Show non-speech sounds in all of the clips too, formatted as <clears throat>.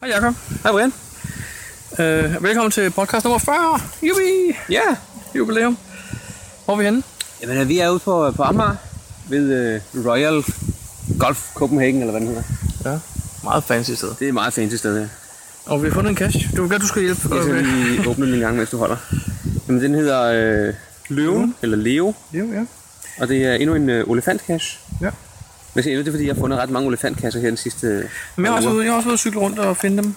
Hej Jacob. Hej Brian. Øh, velkommen til podcast nummer 40. Jubi! Ja. Jubilæum. Hvor er vi henne? Jamen, øh, vi er ude på, på Amager ved øh, Royal Golf Copenhagen, eller hvad den hedder. Ja. Meget fancy sted. Det er et meget fancy sted her. Og vi har fundet en cash. Du vil godt, du skal hjælpe. øh, Jeg skal Okay. lige åbne min gang, mens du holder. Jamen, den hedder øh, Løven, eller Leo, Jo, ja. og det er endnu en øh, elefantkasse. ja. Hvis jeg siger endnu, det er fordi, jeg har fundet ret mange elefantkasser her den sidste øh, Men jeg har, også, par uger. været- jeg har også været cykle rundt og finde dem.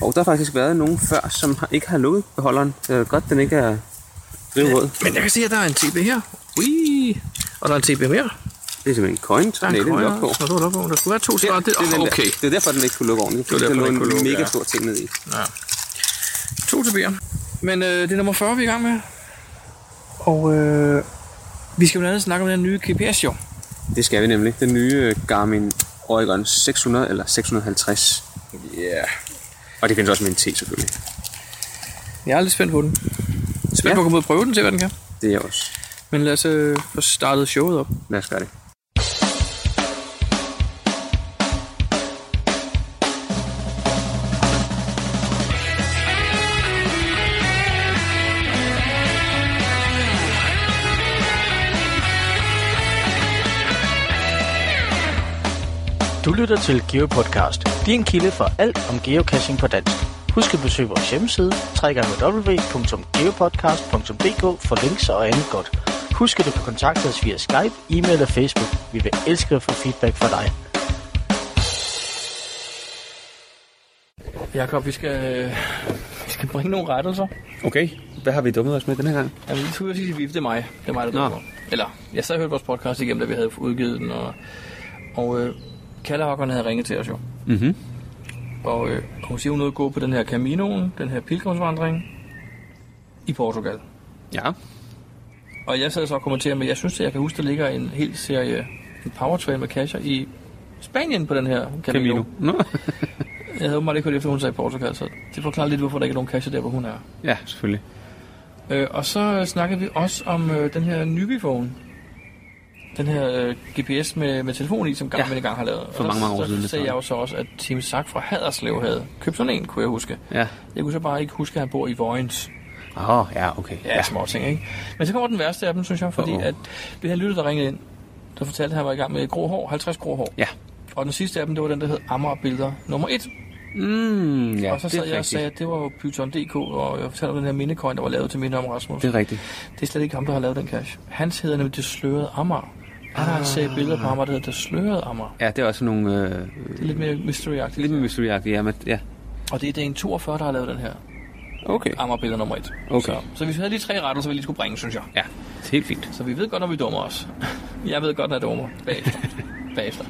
Og der har faktisk været nogen før, som har, ikke har lukket beholderen. Det er godt, den ikke er drivrød. Men jeg kan se, at der er en TB her. Ui. Og der er en TB mere. Det er simpelthen en Der coin. er en Nej, det er en krøjer. logbog. Nå, det var logbog. Der skulle være to Det, svar. Det, det, er den oh, der. okay. det er derfor, den ikke kunne lukke ordentligt. var Det var derfor, derfor, den den ikke kunne lukke, ja. en mega stor ting ned i. Ja. To TB'er. Men øh, det er nummer 40, vi er i gang med. Og øh, vi skal blandt andet snakke om den her nye GPS, jo. Det skal vi nemlig. Den nye øh, Garmin Oregon 600 eller 650. Ja. Yeah. Og det findes også med en T selvfølgelig. Jeg er lidt spændt på den. Spændt ja. Ja. på at komme ud og prøve den, se hvad den kan. Det er jeg også. Men lad os øh, få startet showet op. Lad os gøre det. Du lytter til GeoPodcast, din kilde for alt om geocaching på dansk. Husk at besøge vores hjemmeside, www.geopodcast.dk for links og andet godt. Husk at du kan kontakte os via Skype, e-mail og Facebook. Vi vil elske at få feedback fra dig. Jakob, vi skal, øh, vi skal bringe nogle rettelser. Okay, hvad har vi dummet os med den her gang? Jamen, jeg skulle sige, at det er mig. Det er mig, der Nå. dømmer. Eller, jeg sad og hørte vores podcast igennem, da vi havde udgivet den. Og, og øh, Kallahokkerne havde ringet til os jo. Mhm. Og øh, og hun siger, hun er ude at gå på den her Caminoen, den her pilgrimsvandring i Portugal. Ja. Og jeg sad så og kommenterede, men jeg synes, at jeg kan huske, der ligger en hel serie en powertrail med cacher i Spanien på den her Camino. Camino. Nå. <laughs> Jeg havde åbenbart ikke hørt efter, hun sagde Portugal, så det forklarer lidt, hvorfor der ikke er nogen cacher der, hvor hun er. ja, selvfølgelig. Øh, og så øh, snakkede vi også om øh, den her Nubifone. Den her øh, GPS med, med telefon i, som Garmin ja. Ja. engang har lavet. og For mange, der, mange år så, siden, Så det sagde tror jeg jeg. jo så også, at Team Sack fra Haderslev havde købt sådan en, kunne jeg huske. Ja. Jeg kunne så bare ikke huske, at han bor i Vojens. Åh, oh, ja, okay. Ja, ja. små ting, ikke? Men så kommer den værste af dem, synes jeg, fordi Uh-oh. at vi havde lyttet, der ringede ind, der fortalte, at han var i gang med grå hår, 50 grå hår. Ja. Og den sidste af dem, det var den, der hed Amager Billeder nummer 1. Mm, ja, Ja, og så det sad er jeg og rigtigt. sagde, at det var jo Python.dk, og jeg fortalte om den her mindecoin, der var lavet til minde om Rasmus. Det. Det er rigtigt. det er slet ikke ham, der har lavet den cache. Hans hedder nemlig Det Slørede Amager. Han har altså set billeder på Amager, der hedder Det Slørede Amager. Ja, det er også nogle... Øh, Det er lidt mere mystery lidt lidt... mystery ja, men, ja. Og det er dagen 42, der har lavet den her Okay. Amager-billeder nummer 1. Okay. Så, så vi havde lige tre retter, så vi lige skulle bringe, synes jeg. Ja, det er helt fint. Så vi ved godt, når vi dummer os. <laughs> Jeg ved godt, når jeg dummer. <laughs> Bagefter. Bagefter.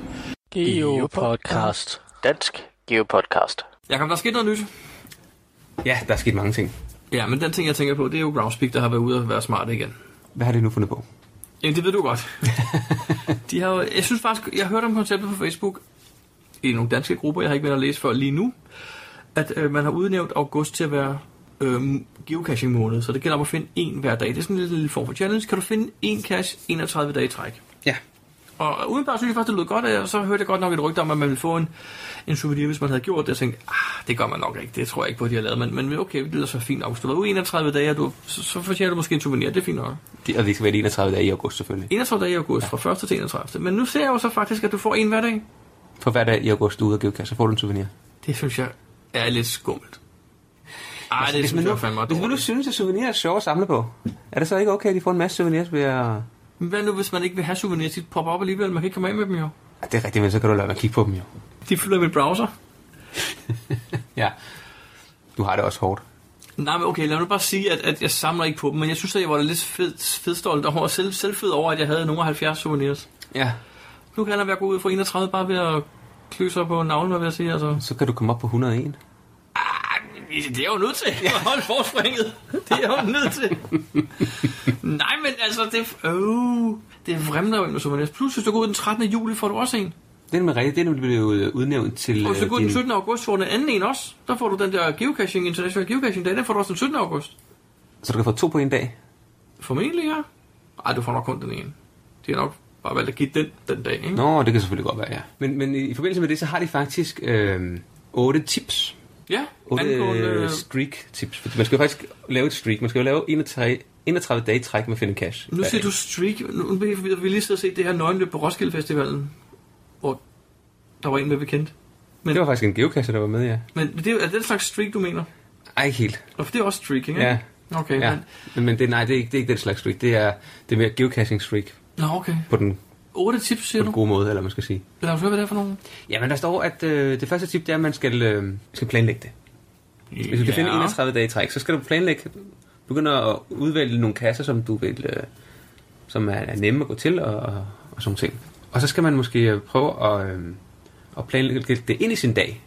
GeoPodcast. Dansk GeoPodcast. Jakob, der er sket noget nyt. Ja, der er sket mange ting. Ja, men den ting, jeg tænker på, det er jo Groundspeak, der har været ude og være smart igen. Hvad har det nu fundet på? Jamen, det ved du godt. de har jo, jeg synes faktisk, jeg hørte om konceptet på Facebook, i nogle danske grupper, jeg har ikke været at læse før lige nu, at øh, man har udnævnt august til at være øh, geocaching måned, så det gælder om at finde en hver dag. Det er sådan en lille, lille form for challenge. Kan du finde en cache 31 dage i træk? Ja. Og udenbart synes jeg faktisk, det lød godt, og så hørte jeg godt nok et rygte om, at man ville få en, en souvenir, hvis man havde gjort det. Jeg tænkte, ah, det gør man nok ikke, det tror jeg ikke på, at de har lavet. Men, men okay, det lyder så fint nok. Hvis du har været ude i 31 dage, og du, så, så fortjener du måske en souvenir, det er fint nok. Det, og det skal være de 31 dage i august, selvfølgelig. 31 dage i august, fra 1. til 31. Men nu ser jeg jo så faktisk, at du får en hver dag. For hver dag i august, du er ude og geocache, så får du en souvenir. Det synes jeg er lidt skummelt. Altså, Ej, det Altså, hvis synes man, jeg fandme nu, er hvis man nu dårligt. synes, at souvenirer er sjove at samle på, er det så ikke okay, at de får en masse souvenirs ved at... Men Hvad nu, hvis man ikke vil have souvenirs, de popper op alligevel, man kan ikke komme af med dem jo. Ja, det er rigtigt, men så kan du lade være at kigge på dem jo. De fylder i min browser. Ja. Du har det også hårdt. Nej, men okay, lad nu bare sige, at, at jeg samler ikke på dem, men jeg synes, at jeg var lidt fed, fedstolt og selv, selvfed over, at jeg havde nogle af 70 souvenirs. Ja. Nu kan jeg være gå ud for 31 bare ved at klø sig på navlen, hvad vil jeg sige, altså. Så kan du komme op på 101. Det er jeg jo nødt til. Ja. Hold forspringet. Det er jeg jo nødt til. Nej, men altså, det, øh, det vrimler jo ind med souvenirs. Plus, hvis du går ud den 13. juli, får du også en. Det er nemlig rigtigt, det er nemlig blevet udnævnt til... Og hvis du øh, går ud den din- 17. august, får du den anden en også. Der får du den der geocaching, international geocaching dag, den får du også den 17. august. Så du kan få to på en dag. Formentlig, ja. Ej, du får nok kun den ene. De har nok bare valgt at give den den dag, ikke? Nå, det kan selvfølgelig godt være, ja. Men, men i, i forbindelse med det, så har de faktisk øh, 8 tips. Ja, 8 angående... øh, streak tips. Fordi man skal jo faktisk lave et streak. Man skal jo lave 31, 31 dage i træk med at finde cash. Nu siger du streak. Nu bliver jeg forvirret. vi lige sidder og set det her nøgenløb på Roskilde Festivalen, hvor der var en med, vi kendte. Det var faktisk en geocache, der var med, ja. Men det er, er det den slags streak, du mener? Ej, ikke helt. Og for det er også streaking, ikke? Ja, Okay, ja. men... Men, men det, nej, det er, ikke, det er ikke den slags streak. Det er, det er mere geocaching streak Nå, okay. på den, Otte tips, siger på den du? gode måde, eller man skal sige. Lad os høre, hvad det er for nogen. Jamen, der står, at øh, det første tip, det er, at man skal, øh, skal planlægge det. Hvis du kan finde 31 dage i træk, så skal du planlægge, begynde at udvælge nogle kasser, som du vil, øh, som er, er nemme at gå til og, og, og sådan nogle ting. Og så skal man måske øh, prøve at, øh, at planlægge det ind i sin dag.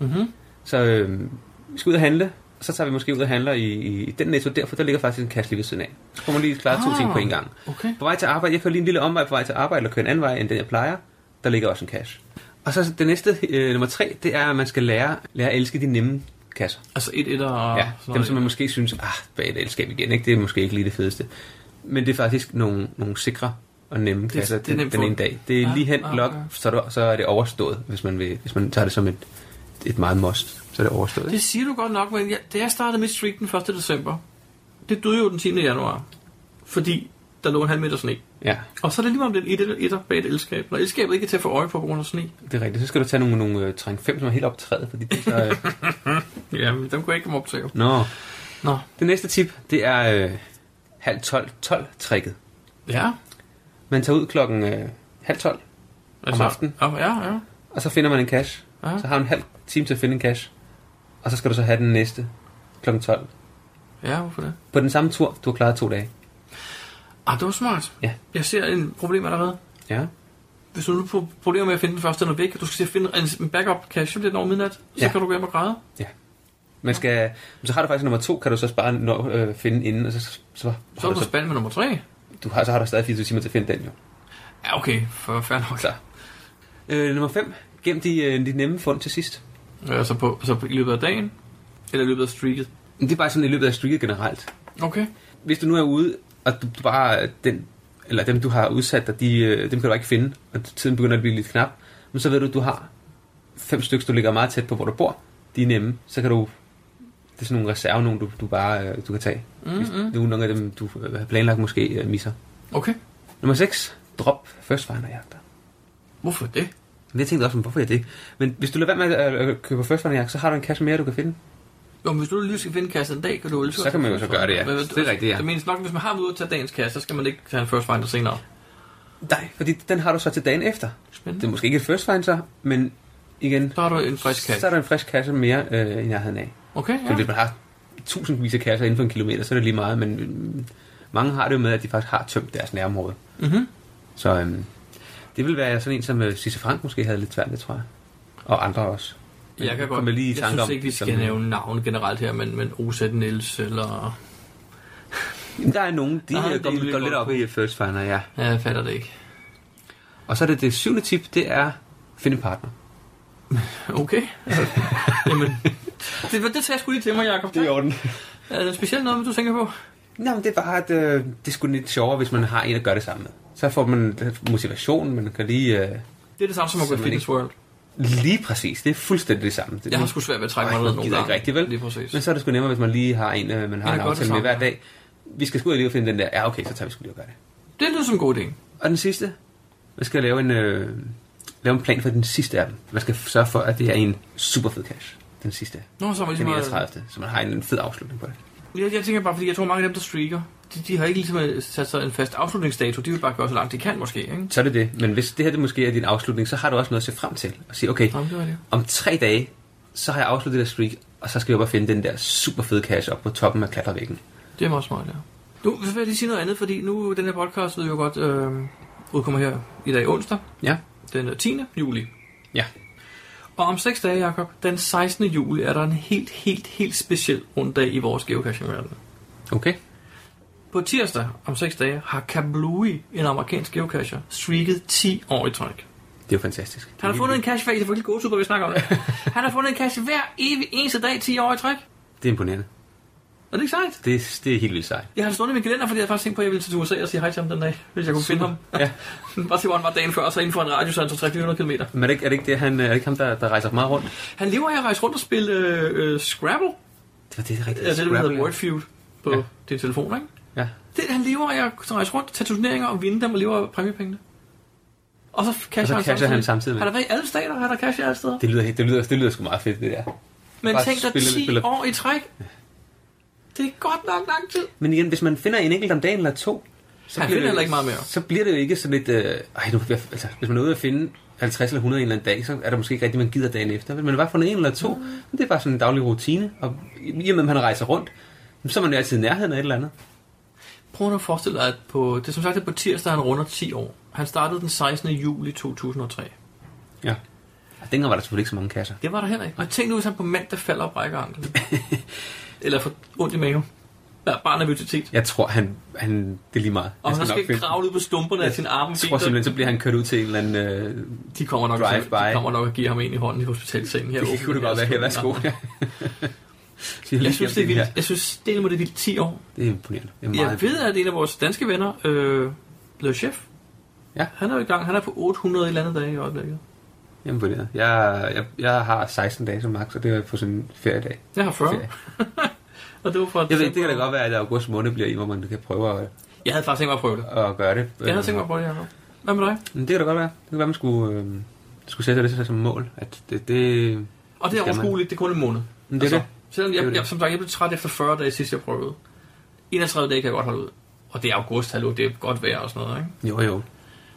Mm-hmm. Så øh, vi skal ud og handle, og så tager vi måske ud og handler i, i, i den netto der, for der ligger faktisk en kasse lige ved siden af. Så får man lige klaret to Ah. ting på en gang. Okay. På vej til arbejde, jeg kører lige en lille omvej på vej til arbejde, eller kører en anden vej end den, jeg plejer. Der ligger også en kasse. Og så det næste, øh, nummer tre, det er, at man skal lære, lære at elske de nemme kasser. Altså et etter og... Ja, dem som man måske synes, ah, bag et elskab igen, ikke? det er måske ikke lige det fedeste. Men det er faktisk nogle, nogle sikre og nemme det, kasser det er det, nemt den for- ene dag. Det er Ja, ah, lige hen, ja, log, ja. så, er du, så er det overstået, hvis man, vil, hvis man tager det som et, et meget must. Så er det overstået. Det siger du godt nok, men jeg, da jeg startede mit streak den 1. december, det døde jo den 10. januar, fordi der lå en halv meter sne. Ja, Og så er det lige meget om den etter, etter bag et elskab. Når elskabet ikke er til at få øje på på grund af sne, det er rigtigt. Så skal du tage nogle, nogle uh, træng 5, som er helt optrædet. Fordi det er så, uh... <laughs> ja, men dem kunne jeg ikke komme op til. jo. Nå, Nå, det næste tip, det er uh, halv 12, 12 trækket. ja. Man tager ud klokken uh, halv 12, Altså, aftenen? Ja, ja, ja. og så finder man en cash. Ja. Så har du en halv time til at finde en cash. Og så skal du så have den næste klokken 12. ja hvorfor det? På den samme tur, du har klaret to dage. Ah, det var smart. Ja. Jeg ser en problem allerede. Ja. Hvis du nu får problemer med at finde den første, når væk, og du skal til at finde en- en backup cache, så bliver den over midnat, så Ja. kan du gå hjem og græde. Man skal, men så har du faktisk nummer to, kan du så spare nå, øh, finde inden, og så, så, så, Så er har du, du på så, spand med nummer 3. du har, så har du stadig 24 timer til at finde den jo. Ja, okay. For fair nok. Så. Øh, nummer 5. Gem de, øh, de nemme fund til sidst. Øh, så, på, så på, i løbet af dagen? Eller i løbet af streaket? Men Det er bare sådan i løbet af streaket generelt. Okay. Hvis du nu er ude, og du, du bare, øh, den, eller dem du har udsat dig, de, øh, dem kan du bare ikke finde, og tiden begynder at blive lidt knap, men så ved du, du har fem stykker, du ligger meget tæt på, hvor du bor. De er nemme. Så kan du, det er sådan nogle reserve, nogle du, du bare øh, du kan tage. Hvis Mm-hmm. nu nogle af dem, du øh, har planlagt, måske øh, misser. Okay. Nummer 6. Drop first finder jagter. Hvorfor det? Men jeg tænkte også, men hvorfor er det? Men hvis du lader være med at øh, købe first finder jagt, så har du en kasse mere, du kan finde. Jo, men hvis du lige skal finde kassen en dag, kan du jo Så kan man jo så gøre det, ja. Det er rigtigt, ja. Det menes nok, hvis man har været ude til dagens kasse, så skal man ikke tage en first finder senere. Nej, fordi den har du så til dagen efter. Det Spændende. er måske ikke et first find så, men igen, Så har du en frisk kasse. så er der en frisk kasse mere øh, end jeg havde af. Okay, Så ja. hvis man har tusindvis af kasser inden for en kilometer, så er det lige meget, men øh, mange har det jo med, at de faktisk har tømt deres nærområde. Mm-hmm. Så øh, det vil være sådan en, som øh, Cisse Frank måske havde lidt svært ved, tror jeg. Og andre også. Men Jeg kan kom godt. Jeg, lige jeg i tanke synes om, ikke, vi skal som- nævne navn generelt her, men, men Rosette Niels eller... Jamen, Der er nogen, de Der er ah, en går, del, vi går går lidt op på. i first finder, ja. Ja, jeg fatter det ikke. Og så er det det syvende tip, det er finde en partner. Okay. Altså, <laughs> Jamen, det, det tager jeg sgu lige til mig, Jacob. Tak. orden. Er der specielt noget, du tænker på? <laughs> Nå, men det er bare, at øh, det er sgu lidt sjovere, hvis man har en at gøre det sammen med. Så får man lidt motivation, man kan lige... Øh, Det er det samme som at gå i Simpelthen Fitness World. lige præcis, det er fuldstændig det samme. Det, Jeg har sgu svært ved at trække Ej, mig ned man nogle gider gange. ikke rigtig, vel? Lige præcis. Men så er det sgu nemmere, hvis man lige har en, øh, man har Ja, en godt det aftale med samme. hver dag. Vi skal sgu ud og lige finde den der. Ja, okay, så tager vi sgu lige og gøre det. Det lyder som en god idé. Og den sidste, man skal lave en, øh, lave en plan for den sidste af dem. Man skal sørge for, at det er en super fed cash. Den sidste. Nå, så er man Den ligesom... 31. Så man har en fed afslutning på det. Jeg, jeg tænker bare, fordi jeg tror, mange af dem, der streaker, de, de har ikke ligesom øh, sat sig en fast afslutningsdato. De vil bare gøre så langt, de kan måske, ikke? Så er det det. Men hvis det her det måske er din afslutning, så har du også noget at se frem til. Og sige, okay, Nå, men det var det. om tre dage, så har jeg afsluttet det der streak, og så skal jeg op og finde den der super fede cash op på toppen af klatrevæggen. Det er meget smart, ja. Nu vil jeg lige sige noget andet, fordi nu den her podcast, ved jeg jo godt, øh, udkommer her i dag onsdag, Ja. den øh, 10. juli. Ja. Og om 6 dage, Jacob, den 16. juli, er der en helt, helt, helt speciel runddag i vores geocaching-verden. Okay. På tirsdag om 6 dage har Kablooey, en amerikansk geocacher, streaket 10 år i træk. Det er jo fantastisk. Han har fundet en cache hver, det er virkelig gode super, vi snakker om det. Han har fundet en cache hver evig eneste dag 10 år i træk. Det er imponerende. Er det ikke sejt? Det, det er helt vildt sejt. Jeg har det stående i min kalender, fordi jeg havde faktisk tænkt på, at jeg ville til USA og sige hej til ham den dag, hvis jeg kunne finde ham. Ja. <laughs> Bare se, hvor han var dagen før, og så inden for en radius af 300 km. Men er det, ikke, er det ikke, det, han, er det ikke ham, der, der rejser meget rundt? Han lever af at rejse rundt og spille øh, øh, Scrabble. Det var det, det rigtige. Ja, det er det, der hedder Scrabble. Wordfeud på Ja. ja. din telefon, ikke? Ja. Det, han lever af at rejse rundt, tage turneringer og vinde dem og lever af præmiepengene. Og så Og casher så han, casher han samtidig med. Har der været i alle stater? Har der cash i alle steder? Det lyder, helt- det, lyder, det lyder sgu meget fedt, det der. Men Bare tænk dig spille- 10 spille- år i træk. Det er godt nok lang tid. Men igen, hvis man finder en enkelt om dagen eller to, så Han det, finder heller ikke meget mere. Så bliver det jo ikke sådan et... Øh, ej, nu, altså, hvis man er ude at finde 50 eller 100 en eller anden dag, så er der måske ikke rigtig, man gider dagen efter. Men man har bare fundet en eller to. Mm. Men det er bare sådan en daglig rutine. Og i og med, at man rejser rundt, så er man jo altid i nærheden af et eller andet. Prøv nu at forestille dig, at på, det er som sagt at på tirsdag, han runder 10 år. Han startede den 16. juli 2003. Ja. Og dengang var der selvfølgelig ikke så mange kasser. Det var der heller ikke. Og tænk nu, hvis han på mandag falder og brækker <laughs> anklen. Eller får ondt i maven. Ja, bare nervøsitet. Jeg tror, han, han det er lige meget. Og han nok skal finde- kravle ud på stumperne af sin arme. Jeg tror simpelthen, så bliver han kørt ud til en eller anden... Øh, de kommer nok, drive de by. kommer nok at give ham en i hånden i hospitalsengen her. det kunne det godt være her. <laughs> Værsgo. Ja. Så lige Jeg synes, det er gennem vildt. her. Jeg synes, det er med det vildt 10 år. Det er imponerende. Det er meget Jeg ved, at en af vores danske venner øh, blev chef. Ja. Han er jo i gang. Han er på 800 i eller andet dage i øjeblikket. Jeg er imponeret. Jeg, jeg, jeg har 16 dage som max, og det er på sådan en feriedag. Jeg har 40. Ferie. <laughs> og det var fra Jeg ved, det kan da godt være, at august måned bliver i, hvor man kan prøve at, Jeg havde faktisk tænkt mig at prøve det. at gøre det. Jeg havde tænkt mig at prøve det her nu. Hvad med dig? Men det kan da godt være. Det kan være, man skulle, øh, skulle sætte det som mål. At det, det, Og det Skal er man? overskueligt. Det er kun en måned. Altså, men det er det. Selvom Det er jo jeg, det. jeg, som sagt, jeg blev træt efter 40 dage sidst, jeg prøvede. 31 dage kan jeg godt holde ud. Og det er august, hallo, det er godt vejr og sådan noget, ikke? Jo, jo.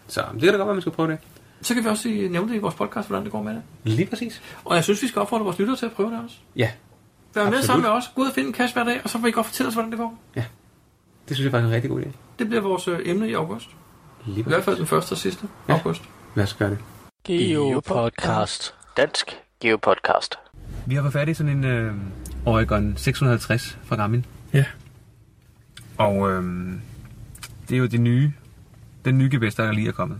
Så det kan da godt være, man skal prøve det. Så kan vi også øh, nævne det i vores podcast, hvordan det går med det. Lige præcis. Og jeg synes, vi skal opfordre vores lyttere til at prøve det også. Ja, Vær med Absolut. sammen med os. Gå ud og finde en kasse hver dag, og så får I godt fortælle os, hvordan det går. det synes jeg faktisk er en rigtig god idé. Det bliver vores øh, emne i august. Lige I hvert fald den første og sidste Ja. ja. august. Lad os gøre det. Geopodcast. Dansk Geopodcast. Vi har fået fat i sådan en øh, Oregon 650 fra Garmin. Ja. Og øh, det er jo det nye, den nye GPS, der lige er kommet.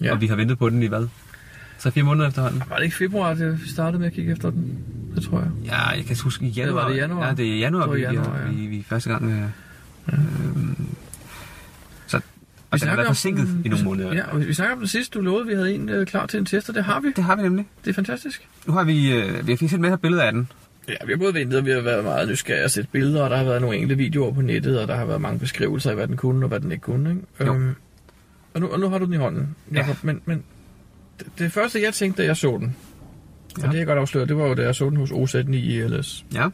Ja. Og vi har ventet på den i hvad? Så fire måneder efterhånden? Var det ikke februar, det vi startede med at kigge efter den? Det tror jeg. Ja, jeg kan huske i januar. Eller var det januar? Ja, det er i januar, Det var vi, i januar, januar ja. vi, vi, vi første gang... Øh, øh, så, og Altså, den har snakker været om forsinket den- i nogle måneder. Ja, og vi snakker om den sidste, du lovede, vi havde en øh, klar til en test, og det har vi. Det har vi nemlig. Det er fantastisk. Nu har vi, øh, vi har fik set med her billede af den. Ja, vi har både ventet, og vi har været meget nysgerrige og set billeder, og der har været nogle enkelte videoer på nettet, og der har været mange beskrivelser af, hvad den kunne og hvad den ikke kunne. Ikke? Jo. Øhm, og, nu, og nu har du den i hånden, Ja. Jacob, ja. men, men det, det første, jeg tænkte, da jeg så den, og Ja. det jeg godt afslører, det var jo, da jeg så den hos OZ9 i ELS. Ja.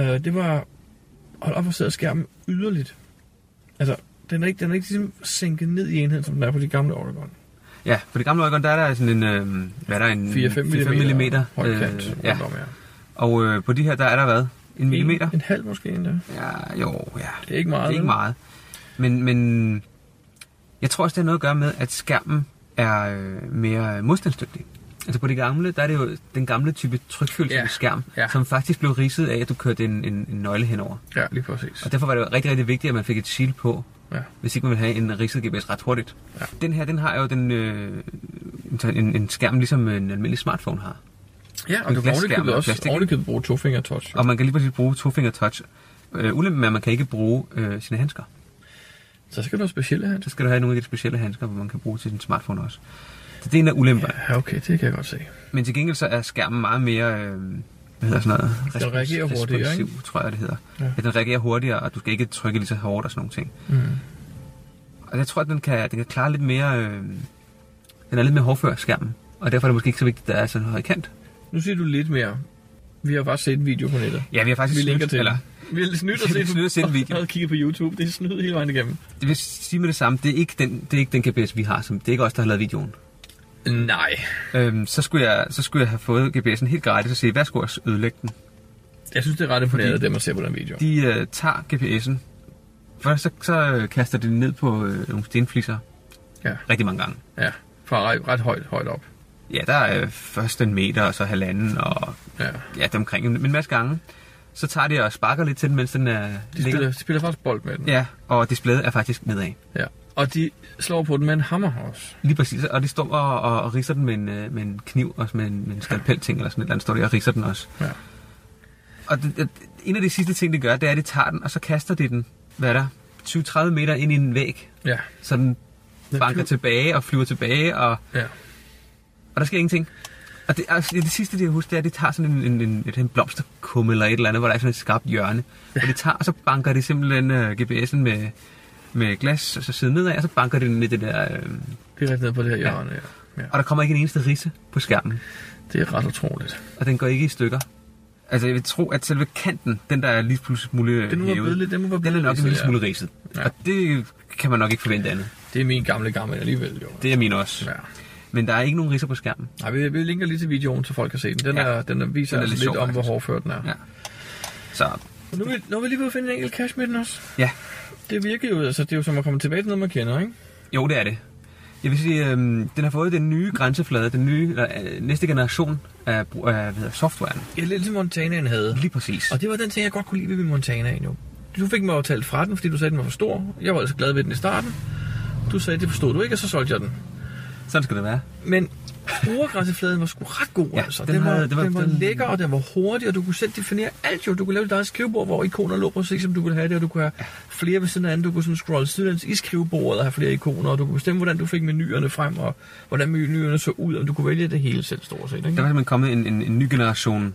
Øh, det var... Hold op, hvor sidder skærmen yderligt. Altså, den er ikke, den er ikke ligesom sænket ned i enheden, som den er på de gamle Oregon. Ja, på det gamle Oregon, der er der sådan en... Øh, hvad er der? En 4-5 mm. 4-5 mm. Højkant. Øh, ja. rundt om, ja. Og øh, på de her, der er der hvad? En millimeter? En, en halv måske endda. Ja, jo, ja. Det er ikke meget, Det er ikke vel? meget. Men, men jeg tror også, det har noget at gøre med, at skærmen er øh, mere modstandsdygtig. Altså på det gamle, der er det jo den gamle type trykfølsomme Ja, skærm, ja. som faktisk blev ridset af, at du kørte en, en, en nøgle henover. Ja, lige præcis. Og derfor var det jo rigtig, rigtig vigtigt, at man fik et shield på, Ja. hvis ikke man ville have en ridset GPS ret hurtigt. Ja. Den her, den har jo den, øh, en, en skærm, ligesom en almindelig smartphone har. ja, en og du kan glasskærm ovenikøbet og også plastik. ovenikøbet bruge tofingertouch. Og man kan lige præcis bruge tofinger touch. Øh, ulempen er, at man kan ikke bruge øh, sine handsker. Så skal du have specielle her. Så skal du have nogle af de specielle handsker, hvor man kan bruge til sin smartphone også. Så det er en af ulemperne. Ja. Ja, okay, det kan jeg godt se. Men til gengæld så er skærmen meget mere... Øh, hvad hedder sådan noget? Den reagerer hurtigere, ikke? responsiv, tror jeg, det hedder. Ja. Ja. At den reagerer hurtigere, og du skal ikke trykke lige så hårdt og sådan nogle ting. Mm. Og jeg tror, at den kan, den kan klare lidt mere... Øh, den er lidt mere hårdfør, skærmen. Og derfor er det måske ikke så vigtigt, at der er sådan en høj kant. Nu siger du lidt mere. Vi har bare set en video på nettet. Ja, vi har faktisk Vi snydt, linker til eller, den. Vi har snydt <laughs> og <laughs> Vi har set, snydt og set en video. Jeg havde kigget på YouTube. Det er snydt hele vejen igennem. Det vil sige med det samme, det er ikke den, det er ikke den GPS, vi har. Som, det er ikke os, der har lavet videoen. Nej. Øhm, så, skulle jeg, så skulle jeg have fået GPS'en helt gratis og sige, værsgo at ødelægge den. Jeg synes, det er ret imponerende, det man ser på den video. de øh, tager GPS'en. Først så, så øh, kaster de den ned på øh, nogle stenfliser Ja. rigtig mange gange. Ja, fra ret, ret højt, højt op. Ja, der er øh, først en meter, og så halvanden, og Ja. ja, det er omkring en, en masse gange. Så tager de og sparker lidt til den, mens den er De spiller, de spiller faktisk bold med den. Ja, og displayet er faktisk nedad. ja. Og de slår på den med en hammer også. Lige præcis, og de står og, og, og riser den med en, øh, med en kniv, og med en, med en skalpel ting, eller sådan et eller andet, står de og riser den også. Ja. Og det, det, en af de sidste ting, det gør, det er, at det tager den, og så kaster det den, hvad er der, 20-30 meter ind i en væg. Ja. Så den Den banker flyver- tilbage og flyver tilbage, og, ja. og der sker ingenting. Og det, altså, det sidste, det jeg husker, det er, at det tager sådan en, en, en, en blomsterkumme eller et eller andet, hvor der er sådan et skarpt hjørne. Ja. Og det tager, og så banker det simpelthen uh, GPS'en med, med glas, og så siden nedad, og så banker det den i det der... Øh, Direkte ned på det her hjørne, ja. ja. og der kommer ikke en eneste risse på skærmen. Det er ret utroligt. og den går ikke i stykker. Altså, jeg vil tro, at selve kanten, den der er lige pludselig smule Den må være hævet, blevet lidt- den må være den er blevet nok ridset, en lille ja. smule ridset. Ja. Ja. Og det kan man nok ikke forvente andet. Det er min gamle gammel alligevel, jo. Det er min også. Ja. Men der er ikke nogen ridser på skærmen. Nej, vi, vi linker lige til videoen, så folk kan se den. Den, ja. Ja. er, den er, viser den Den er er altså lidt lidt, sjov, om, hvor faktisk. hårdfør den er. Ja. Så Nu, er vi, nu er vi lige ved at finde en enkelt cash med den også. ja, Det virker jo, altså det er jo som at komme tilbage til noget, man kender, ikke? jo det er det. Jeg vil sige, øhm, den har fået den nye grænseflade, den nye, eller, øh, næste generation af, brug- af hvad hedder, softwaren. Ja, lidt ligesom Montanaen havde. Lige præcis. Og det var den ting, jeg godt kunne lide ved min Montana jo. Du fik mig jo talt fra den, fordi du sagde, den var for stor. Jeg var altså glad ved den i starten. Du sagde, det forstod du ikke, og så solgte jeg den. Sådan skal det være. Men brugergrænsefladen var sgu ret god, ja, Ja, altså. Den, den den, var, havde- den, det var, var- den var den- lækker, og den var hurtig, og du kunne selv definere alt jo. Du kunne lave dit eget skrivebord, hvor ikoner lå præcis, som du ville have det, og du kunne have flere ved siden af hinanden. Du kunne sådan scrolle sidelæns i skrivebordet og have flere ikoner, og du kunne bestemme, hvordan du fik menuerne frem, og hvordan menuerne så ud, og du kunne vælge det hele selv, stort set, Der ikke? var simpelthen kommet en, en, en ny generation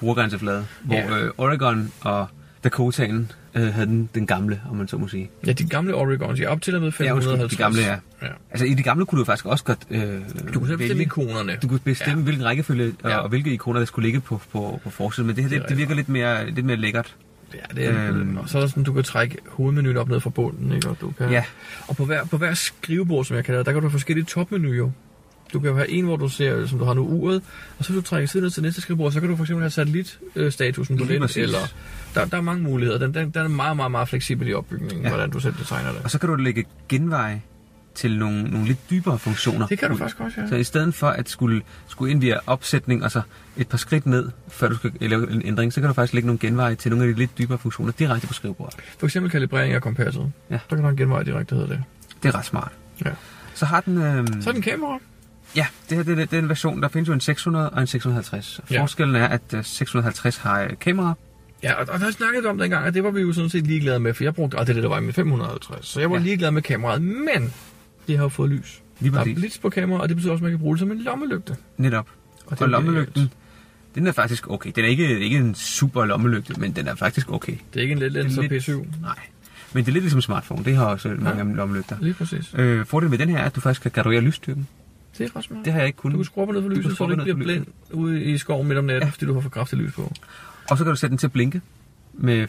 brugergrænseflade, hvor Ja. øh, Oregon og Dakotaen øh, havde den, den gamle, om man så må sige. Ja, de gamle Oregons, jeg op til og med Ja, undskyld, 550. de gamle, ja. ja. Altså i det gamle kunne du faktisk også godt øh, Du kunne selv bestemme vælge. ikonerne. Du kunne bestemme, ja. hvilken rækkefølge Ja. og, ja. og hvilke ikoner, der skulle ligge på, på, på forsiden. Men det her, Det er det, det virker lidt mere, lidt mere lækkert. Ja, det er øhm, Øhm. Og så er der sådan, du kan trække hovedmenuen op ned fra bunden, ikke? Og, du kan, Ja. og på, hver, på hver skrivebord, som jeg kalder det, der kan du have forskellige topmenuer. Du kan jo have en, hvor du ser, som du har nu, uret, og så hvis du trækker siden ned til næste skrivebord, så kan du for eksempel have satellitstatusen på Lige den, præcis. eller der, der er mange muligheder. Den, den, den er meget, meget, meget fleksibel i opbygningen, ja. hvordan du selv designer Og det. så kan du lægge genveje til nogle, nogle lidt dybere funktioner. Det kan du ud. faktisk også, ja. Så i stedet for at skulle, skulle ind via opsætning og så et par skridt ned, før du skal lave en ændring, så kan du faktisk lægge nogle genveje til nogle af de lidt dybere funktioner direkte på skrivebordet. For eksempel kalibrering af kompasset. Ja. Der kan du have en genvej direkte, hedder det. Det er ret smart. Ja. Så har den... Øh, Så er den kamera. Ja, det her det er den- den version, der findes jo en 600 og en 650. Ja. Ja. Forskellen er, at øh, 650 har øh, kamera, Ja, og, og der snakkede vi om dengang, at det var vi jo sådan set ligeglade med, for jeg brugte aldrig det, der var i min 550, så jeg var ja. Ja. ligeglad med kameraet, men det har jo fået lys. Lige der er præcis. blitz på kameraet, og det betyder også, at man kan bruge det som en lommelygte. netop. Og, er og lommelygten, genialt. den er faktisk okay. Den er ikke, ikke en super lommelygte, men den er faktisk okay. Det er ikke en let lens lidt- P7. Nej. Men det er lidt ligesom en smartphone. Det har også mange af ja. lommelygter. Lige præcis. Øh, fordelen ved den her er, at du faktisk kan graduere lysstyrken. Det er ret smart. Det har jeg ikke Du kan kunnet. skrue op og ned for Du kan lyset, så skrue du op ikke og ned bliver for blind ude i skoven midt om natten, ja. fordi du har for kraftigt lys på. Og så kan du sætte den til at blinke med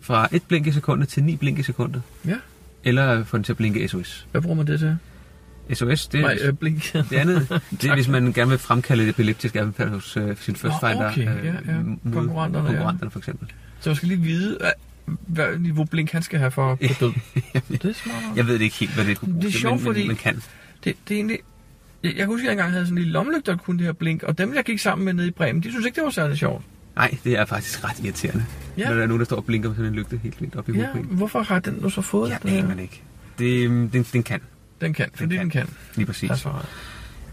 fra et blink i sekundet til ni blink i sekundet. Ja. Eller få den til at blinke SOS. Hvad bruger man det til? SOS, det Det er... Nej, øh, blink. Det andet, det er, hvis man gerne vil fremkalde et epileptisk anfald hos øh, sin first Nå, finder. okay, ja, ja. mod Konkurrenterne, ja. konkurrenterne for eksempel. <laughs> så man skal lige vide, hvad- hvad niveau blink han skal have for at <laughs> død. det er smart. nok. Jeg ved det ikke helt, hvad det kunne Det er bruges til, sjovt, men, men- fordi- men kan. Det, det er egentlig... Jeg, jeg husker, at jeg engang havde sådan en lille lommelygte, der kunne det her blink, og dem, jeg gik sammen med nede i Bremen, de synes ikke, det var særlig sjovt. Nej, det er faktisk ret irriterende. Ja. Ja. Når der er nogen, der står og blinker med sådan en lygte helt vildt op i hovedet Ja, på en. hvorfor har den nu så fået Jeg den, her? aner det ikke. Det, øhm, den, den kan, den kan, fordi den kan. lige præcis. Der er svaret.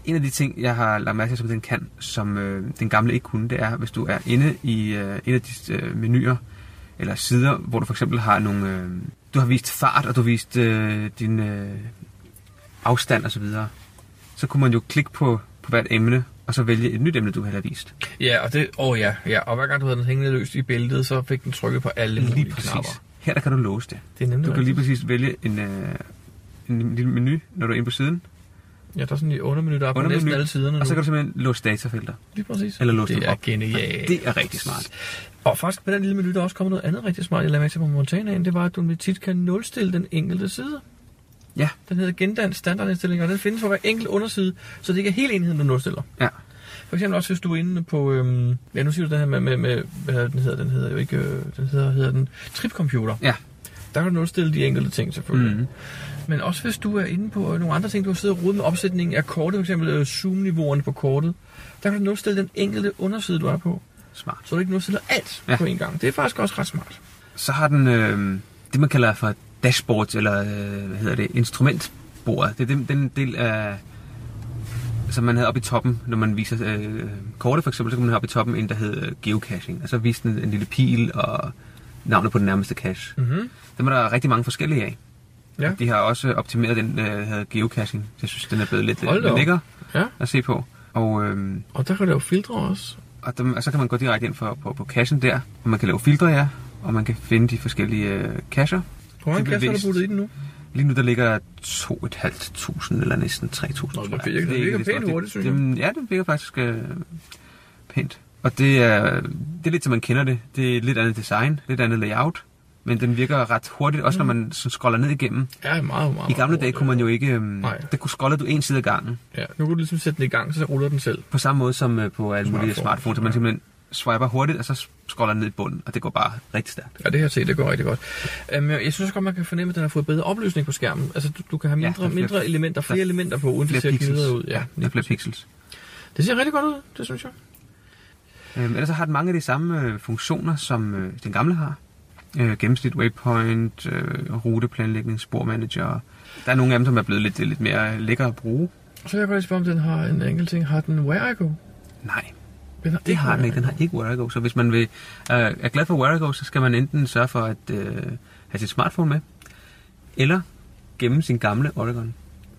En af de ting, jeg har lagt mærke til, som den kan, som øh, den gamle ikke kunne, det er, hvis du er inde i øh, en af de øh, menuer eller sider, hvor du for eksempel har nogle... Øh, du har vist fart, og du har vist øh, din øh, afstand osv., så, så kunne man jo klikke på, på hvert emne, og så vælge et nyt emne, du vil have vist. Ja, og det, åh ja, ja, og hver gang du havde den hængende løst i bæltet, så fik den trykket på alle mulige knapper. Her der kan du låse det. Det er nemlig Du kan lige rigtigt. præcis vælge en, øh, en lille menu, når du er inde på siden, Ja, der er sådan en undermenu, der er på Undermenu. næsten alle siderne og så nu. kan du simpelthen låse datafelter. Lige præcis. eller låse det dem er op. genialt. Det er rigtig smart. Og faktisk med den lille menu, der er også kommet noget andet rigtig smart, jeg lavede mærke til på Montanaen, det var, at du tit kan nulstille den enkelte side. Ja, Den hedder Gendan standardindstilling, og den findes på hver enkelt underside, så det ikke er hele enheden, du nulstiller. ja. For eksempel også, hvis du er inde på... Øhm, ja, nu siger du den her med... med, med hvad hedder den hedder? Den hedder jo ikke... Øh, den hedder, hedder den tripcomputer. ja. Der kan du nulstille de enkelte ting, selvfølgelig. Mm. Mhm. Men også hvis du er inde på øh, nogle andre ting, du har siddet og rodet med opsætningen af kortet, for eksempel øh, zoom-niveauerne på kortet, der kan du nulstille den enkelte underside, du er på, Smart. så du ikke nulstiller alt ja. Ja. på en gang. Det er faktisk også ret smart. Så har den øh, det, man kalder for dashboard, eller øh, hvad hedder det, instrumentbordet. Det er den, den del af, som man havde oppe i toppen, når man viser øh, kortet for eksempel, så kunne man have oppe i toppen en, der hed øh, geocaching. Og så viste den en lille pil og navnet på den nærmeste cache. Mm-hmm. Dem er der rigtig mange forskellige af. Ja. De har også optimeret den øh, her geocaching. Jeg synes, den er blevet lidt Hold da øh, op. lækker ja. at se på. Og, øh, Og der kan du lave filtre også. og, dem, og så kan man gå direkte ind for, på, på cachen der, og man kan lave filtre, ja. Og man kan finde de forskellige øh, cacher. Hvor mange Det kasser har bevidst. du puttet i den nu? Lige nu der ligger 2.500 eller næsten 3.000. Nå, det tror jeg. virker- Så det virker ikke så pænt stort. hurtigt, synes det, det, Ja, det virker faktisk øh, pænt. Og det er, det er lidt, som man kender det. Det er lidt andet design, lidt andet layout. Men den virker ret hurtigt, også Mm. når man sådan scroller ned igennem. Ja, meget, meget. I gamle dage kunne man jo ikke... øhm, Nej. Der kunne scrolle du en side af gangen. Ja, nu kan du ligesom sætte den i gang, så ruller den selv. På samme måde som øh, på alle mulige Smartphones, smartphones. Så man ja. simpelthen swiper hurtigt, og så scroller ned i bunden. Og det går bare rigtig stærkt. Ja, det her set, det går rigtig godt. Um, jeg synes også godt, man kan fornemme, at den har fået bedre opløsning på skærmen. Altså, du, du kan have Ja, mindre, ja, der er flere- mindre elementer, flere der er elementer på, uden det flere ser pixels. gnidret ud. Ja, Der er flere pixels. det ser rigtig godt ud, det synes jeg. Øhm, ellers så har den mange af de samme øh, funktioner, som øh, den gamle har. Øh, gennemsnit, waypoint, øh, ruteplanlægning, spormanager. Der er nogle af dem, som er blevet lidt, lidt mere lækre at bruge. Så vil jeg godt lige spørge, om den har en enkelt ting. Har den Where I Go? Nej, Den har det har den Where ikke. I Den Go. har ikke Where I Go. Så hvis man vil, øh, er glad for Where I Go, så skal man enten sørge for at øh, have sit smartphone med, eller gemme sin gamle Oregon.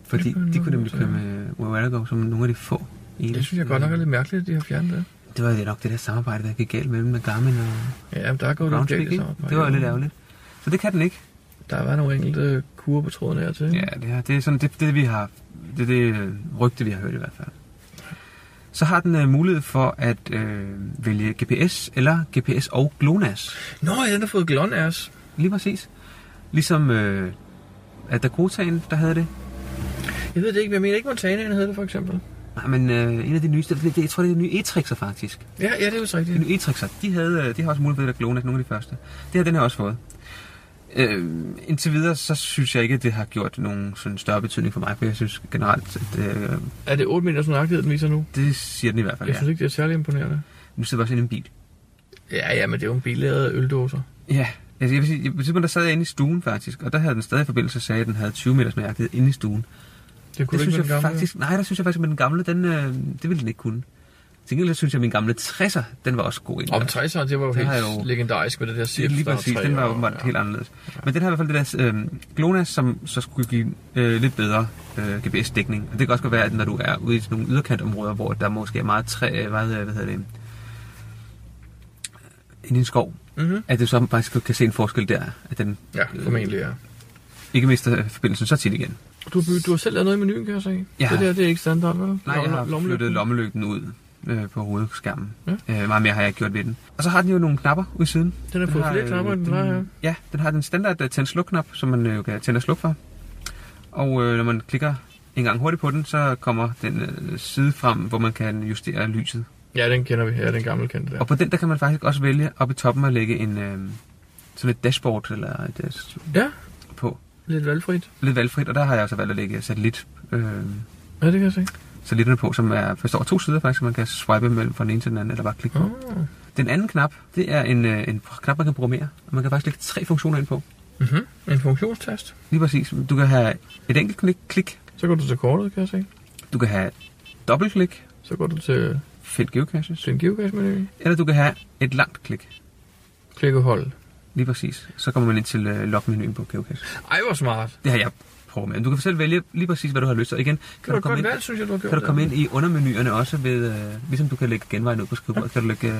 Fordi Det kunne de kunne nemlig nok køre være. med Where I Go som nogle af de få. ene. Det synes jeg godt nok er lidt mærkeligt, at de har fjernet det. Det var nok det der samarbejde, der gik galt mellem Garmin og Ja, men der er gået lidt Groundspeak. galt i ikke? samarbejdet. Det var lidt ærgerligt. Så det kan den ikke. Der har været nogle enkelte kurer på tråden her til. Ja, det, her, det er sådan det, det vi har, det er det øh, rygte, vi har hørt i hvert fald. Så har den øh, mulighed for at øh, vælge GPS eller GPS og GLONASS. Nå, ja, den har fået GLONASS. Lige præcis. Ligesom øh, at Dakotaen, der havde det. Jeg ved det ikke, men jeg mener ikke Montanaen hedder det for eksempel. Nej, men øh, en af de nyeste, det, det, jeg tror, det er de nye e-trixer faktisk. Ja, ja, det er jo så De rigtigt. nye e-trixer, de, havde, øh, de har også mulighed for at GLONASS, nogle af de første. Det har den her også fået. Øh, indtil videre, så synes jeg ikke, at det har gjort nogen sådan større betydning for mig, for jeg synes generelt, at øh, Er det 8 meters nøjagtighed, den viser nu? det siger den i hvert fald. Jeg ja. synes ikke, det er særlig imponerende. Nu sidder vi også inde i en bil. Ja, ja, men det er jo en bil, der hedder øldåser. Ja, altså jeg vil sige, jeg, på et tidspunkt, der sad jeg inde i stuen faktisk, og der havde den stadig i forbindelse sagde, at den havde 20 meters nøjagtighed inde i stuen. Det det kunne det synes ikke jeg være den gamle. faktisk, nej, der synes jeg faktisk, at med den gamle, den, øh, det ville den ikke kunne. Til gengæld så synes jeg, at min gamle 60'er, den var også god ind. Om 60'eren, det var jo Den har helt jo- jo... legendarisk med det der det, cirkus. lige der er præcis, tre den var og- åbenbart ja. helt anderledes. Men den har i hvert fald det der øh, GLONASS, som så skulle give øh, lidt bedre øh, GPS-dækning. Og det kan også godt være, at når du er ude i sådan nogle yderkantområder, hvor der måske er meget træ, øh, meget, øh, hvad hedder det, inde i en skov, Mhm. at du så faktisk kan se en forskel der, at den øh, Ja, formentlig, ja. ikke mister øh, forbindelsen så tit igen. Du, har bygget- du har selv lavet noget i menuen, kan jeg se. Ja. Det der, det er ikke standard, vel? Nej, jeg har Lommelygten. flyttet lommelygten ud øh, på hovedskærmen. Ja. Øh, meget mere har jeg ikke gjort ved den. Og så har den jo nogle knapper ude i siden. Den har fået flere knapper, end den plejer, ja. ja. den har den standard uh, tænd-sluk-knap, som man øh, jo kan tænde og slukke for. Og øh, når man klikker en gang hurtigt på den, så kommer den øh, side frem, hvor man kan justere lyset. Ja, den kender vi her, den gamle kendte der. Og på den, der kan man faktisk også vælge op i toppen at lægge en, øh, sådan et dashboard eller et, øh, Ja, på. lidt valgfrit. Lidt valgfrit, og der har jeg også valgt at lægge satellit, øh, Ja, det kan jeg se. satellitterne på, som er, består af to sider faktisk, som man kan swipe mellem fra den ene til den anden, eller bare klikke på. Oh. Den anden knap, det er en, øh, en knap, man kan programmere. Og man kan faktisk lægge tre funktioner ind på. Mm-hmm. En funktionstest. Lige præcis. Du kan have et enkelt klik, klik. Så går du til kortet, kan jeg se. Du kan have dobbeltklik. Så går du til, Find geocaches. til en geocache-menu. Eller du kan have et langt klik. Klik og hold. Lige præcis. Så kommer man ind til øh, logmenuen på geocache. Ej, hvor smart. Det har jeg programmeret. Du kan selv vælge lige præcis, hvad du har lyst til. Og igen, kan, Det var du et komme godt ind, valg, synes jeg, du har gjort. kan du der. komme ind i undermenuerne også, ved, øh, ligesom du kan lægge genvejen ud på skrivebordet. Kan du lægge øh,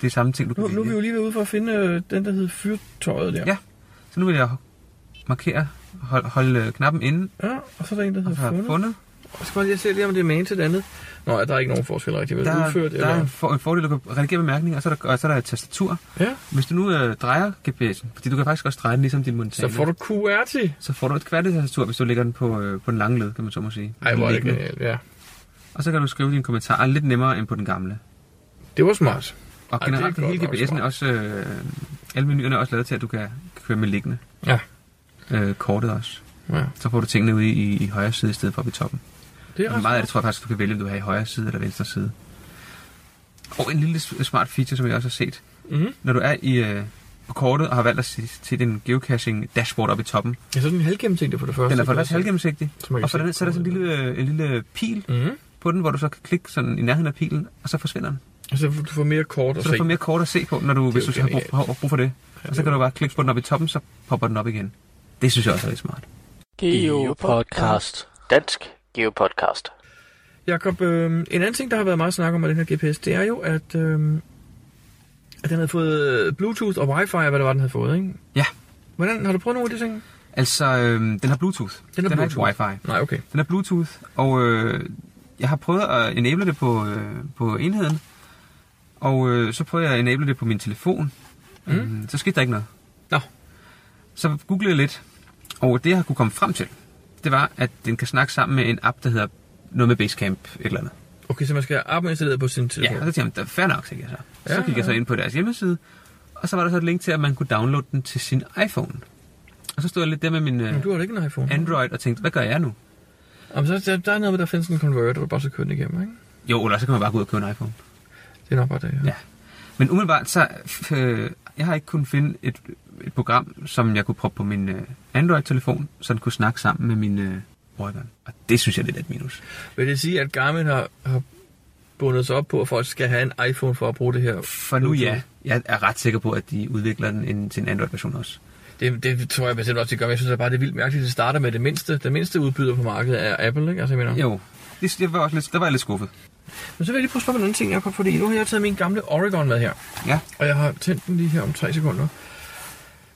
det er samme ting, du kan Nu, nu er vi vælge. jo lige ved ude for at finde øh, den, der hedder fyrtøjet der. Ja. Så nu vil jeg markere, hold, holde øh, knappen inde, ja. og så er der en, der og så hedder har jeg fundet. fundet. Jeg skal bare lige se lige, om det er magen til det andet. Nå, ja, der er ikke nogen forskel rigtig. Vel? Der, Øh, Udført, der eller? er en, for, en fordel, at du kan redigere bemærkninger, og så er der, og så er der et tastatur. Ja, Hvis du nu øh, drejer GPS'en, fordi du kan faktisk også dreje den ligesom din så montane, får du QRT. så får du et kvartetastatur, hvis du lægger den på, øh, på den lange led, kan man så må sige. Ej, hvor er det Liggende. genialt. Ja. Og så kan du skrive dine kommentarer lidt nemmere end på den gamle. Det var smart. Og Ej, generelt det er hele godt nok GPS'en er også, øh, alle menuerne er også lavet til, at du kan køre med liggende. Ja. Øh, kortet også. Ja, Så får du tingene ude i, i, i højre side i stedet for oppe i toppen. det er Og ret meget af det smart. tror jeg faktisk, du kan vælge, om du vil have i højre side eller venstre side. Og en lille s- smart feature, som jeg også har set, Mm-hmm. når du er i øh, på kortet og har valgt at se til din geocaching dashboard oppe i toppen. Ja, så er den halvgennemsigtig for det første. Den er for kan jeg det første se. halvgennemsigtig, Så man kan og for se den, så er der sådan en lille, øh, en lille pil, Mhm. på den, hvor du så kan klikke sådan i nærheden af pilen, og så forsvinder den. Altså, du får mere kort at Så du se. får mere kort at se på, når du, hvis jo du har brug, genialt. har brug for det. Og så det kan er du bare klikke på den op i toppen, så popper den op igen. Det synes jeg også er lidt smart. Geo Podcast. Dansk Geo Podcast. Jakob, øh, en anden ting, der har været meget snak om med den her GPS, det er jo, at, øh, at den havde fået øh, Bluetooth og Wi-Fi, og hvad det var, den havde fået, ikke? Ja, Hvordan, har du prøvet nogle af de ting? altså øhm, den har Bluetooth. Den har den har ikke Bluetooth. Wi-Fi. Nej, okay. Den er Bluetooth, og øh, jeg har prøvet at enable det på, øh, på enheden, og øh, så prøvede jeg at enable det på min telefon. Mm. Mm, så skete der ikke noget. Nå, Så googlede jeg lidt, og det jeg kunne komme frem til, det var, at den kan snakke sammen med en app, der hedder noget med Basecamp et eller andet. okay, så man skal have appen installeret på sin telefon. Ja, og så tænkte jeg, "Men, fair nok, tænkte jeg så. Så Ja, gik jeg så ind på deres hjemmeside, og så var der så et link til, at man kunne downloade den til sin iPhone. Og så stod jeg lidt der med min øh, Men du har da ikke en iPhone. Android og tænkte, hvad gør jeg nu? Jamen, så, der, der er noget med, der findes en converter, hvor du bare skal køre den igennem, ikke? Jo, eller så kan man bare gå ud og købe en iPhone. Det er nok bare det, ja. Ja. Men umiddelbart, så øh, jeg har ikke kunnet finde et, et program, som jeg kunne proppe på min øh, Android-telefon, så den kunne snakke sammen med min øh, Oregon. Og det synes jeg lidt er et minus. Vil det sige, at Garmin har, har bundet sig op på, at folk skal have en iPhone for at bruge det her? For nu ja, jeg er ret sikker på, at de udvikler den ind til en Android-version også. Det, det tror jeg bestemt også, de gør, men jeg synes at bare, det er vildt mærkeligt, at det starter med det mindste. Den mindste udbyder på markedet er Apple, ikke? Altså, jeg mener. Jo, det, det var også lidt, der var jeg lidt skuffet. Men så vil jeg lige prøve at spørge om en anden ting, Jacob, fordi nu har jeg taget min gamle Oregon med her, Ja. og jeg har tændt den lige her om tre sekunder.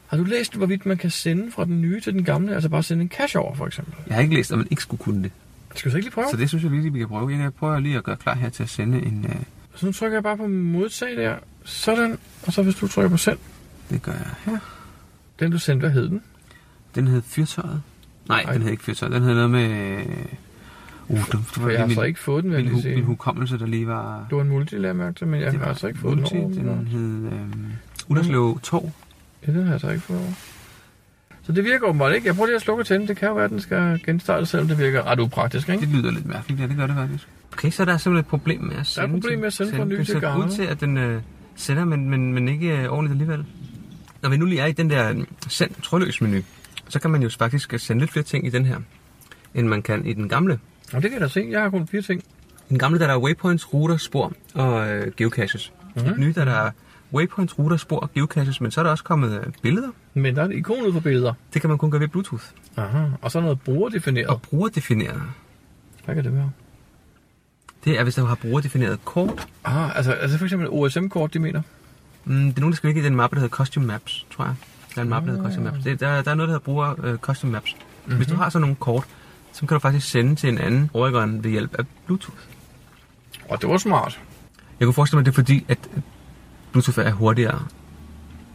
Har du læst, hvorvidt man kan sende fra den nye til den gamle? Altså bare sende en cash over, for eksempel. Jeg har ikke læst, at man ikke skulle kunne det. Skal vi så ikke lige prøve? Så det synes jeg virkelig, vi kan prøve. Jeg prøver lige at gøre klar her til at sende en... Øh, Så nu trykker jeg bare på modtag der. Sådan. Og så hvis du trykker på send. det gør jeg her. Den du sendte, hvad hed den? Den hed Fyrtøjet. Nej, Nej. den hed ikke Fyrtøjet. Den hed noget med... Uh, det, det For jeg var lige har min, altså ikke fået den, vil jeg min, lige hu- min sige. hukommelse, der lige var... Det var en multi, lader jeg mærke til, men jeg det har var altså ikke fået den Multi. over. Den hed øh, Ullerslev Torv. Ja, den har jeg altså ikke fået over. Så det virker åbenbart ikke. Jeg prøver lige at slukke til den. Det kan jo være, at den skal genstarte, selvom det virker ret upraktisk, ikke? Det lyder lidt mærkeligt, ja, det gør det faktisk. Okay, så er der simpelthen et problem med at sende. problem med at sende fra ny Den til ser gammel. ud til, at den øh, sender, men, men, men ikke øh, ordentligt alligevel. Når vi nu lige er i den der øh, send trådløs menu, så kan man jo faktisk øh, sende lidt flere ting i den her, end man kan i den gamle. Nå, det kan jeg da se. Jeg har kun fire ting. I den gamle der er der waypoints, ruter, spor og øh, geocaches. Mhm. Mm-hmm. I den nye der er der waypoints, ruter, spor og geocaches, men så er der også kommet øh, billeder. Men der er et ikon ude på billeder. Det kan man kun gøre ved Bluetooth. Aha. Og så noget brugerdefineret. Og brugerdefineret. Hvad kan det være? Det er, hvis du har brugerdefineret kort, Ah, altså, altså for eksempel OSM-kort, de mener. Mm, det er nogen, der skal ligge i den mappe, der hedder Costume Maps, tror jeg. Der er en mappe, der hedder Costume Maps. Det, der, der er noget, der hedder bruger øh, Costume Maps. Mm-hmm. Hvis du har sådan nogle kort, så kan du faktisk sende til en anden Oregon ved hjælp af Bluetooth. Og det var smart. Jeg kunne forestille mig, det er fordi, at at Bluetooth er hurtigere,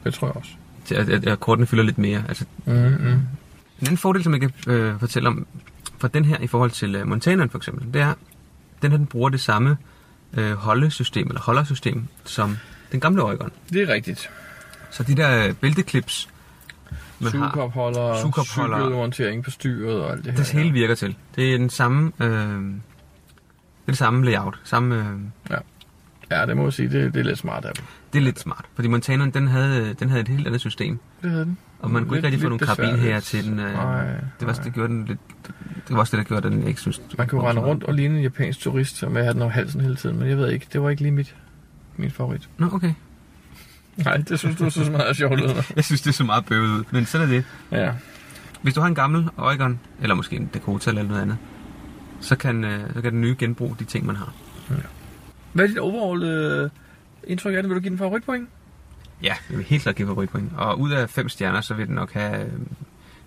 Det tror jeg også. til at, at, at kortene fylder lidt mere. Altså, Mm-hmm. en anden fordel, som jeg kan øh, fortælle om fra den her i forhold til øh, Montaneren for eksempel, det er, den her den bruger det samme øh, holdesystem, eller holdersystem, som den gamle Oregon. Det er rigtigt. Så de der øh, bælteklips, man har, Sugekopholder, Sugekopholder. cykelmontering på styret og alt det her. Det hele virker til. Det er den samme, øh, det er det samme layout. Samme, øh, Ja, det må jeg sige. Det, det er lidt smart af dem. det er lidt smart. Fordi Montaneren, den havde, øh, den havde et helt andet system. Det havde den. Og man kunne Lidt- ikke rigtig få lidt nogle besværligt. karabinhære til den. Øh, Nej, det var også det, der gjorde den lidt... Det var også det, der gjorde den, jeg ikke synes... Man kunne rende rundt og ligne en japansk turist, og med at have den over halsen hele tiden. Men jeg ved ikke, det var ikke lige mit, min favorit. Nå, okay. Nej, det synes du synes meget sjovt. Jeg synes, det er så meget bøvet ud. Men sådan er det. Ja. Hvis du har en gammel Oregon, eller måske en Dakota eller noget andet, så kan, øh, så kan den nye genbruge de ting, man har. Hvad er dit overall øh, indtryk af den? Vil du give den favoritpoint? Ja, jeg vil helt klart give favoritpoint. Og ud af fem stjerner, så vil den nok have øh,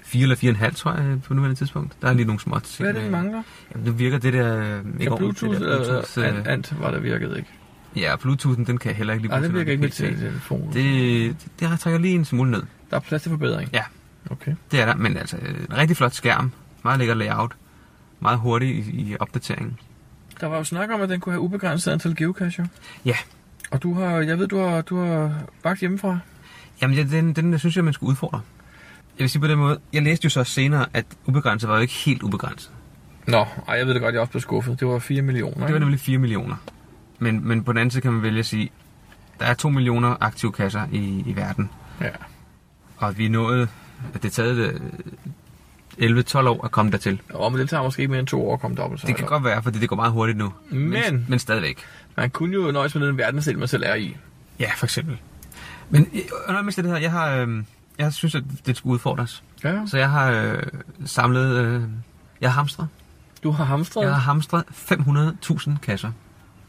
fire eller fire og en halv, tror jeg, øh, på nuværende tidspunkt. Der er lige nogle småt ting. Hvad er det, den med- mangler? Jamen, nu virker det der... øh, Ikke Kan ordentligt, Bluetooth, det der Bluetooth eller øh, Ant, Ant var der virkede ikke. ja, Bluetoothen, den kan jeg heller ikke lige Nej, det bruge virker ikke med noget til PT. telefonen. Det, det, det har- trækker lige en smule ned. Der er plads til forbedring. Ja. Okay. Det er der, men altså, øh, en rigtig flot skærm. Meget lækker layout. Meget hurtig i, i opdateringen. Der var jo snak om, at den kunne have ubegrænset antal geocacher. Ja, Og du har, jeg ved, du har, du har bagt hjemmefra. jamen ja, den, den synes jeg, man skulle udfordre. Jeg vil sige på den måde, jeg læste jo så senere, at ubegrænset var jo ikke helt ubegrænset. Nå, ej, jeg ved det godt, jeg er også blev skuffet. Det var 4 millioner. Det var ikke? nemlig 4 millioner. Men, men på den anden side kan man vælge at sige, der er 2 millioner aktive kasser i, i verden. Ja. Og vi nåede, at det taget øh, 11-12 år at komme dertil. Nå, men det tager måske ikke mere end to år at komme dobbelt. så altså. Det kan højt op. godt være, fordi det går meget hurtigt nu. Men- Altså. men, men stadigvæk. Man kunne jo nøjes med den verdensdel, man selv er i. Ja, for eksempel. Men øh, under mest af det her, jeg har, øh, jeg synes, at det skulle udfordres. Ja. Så jeg har øh, samlet, øh, jeg har hamstret. Du har hamstret. Jeg har hamstret 500.000 kasser.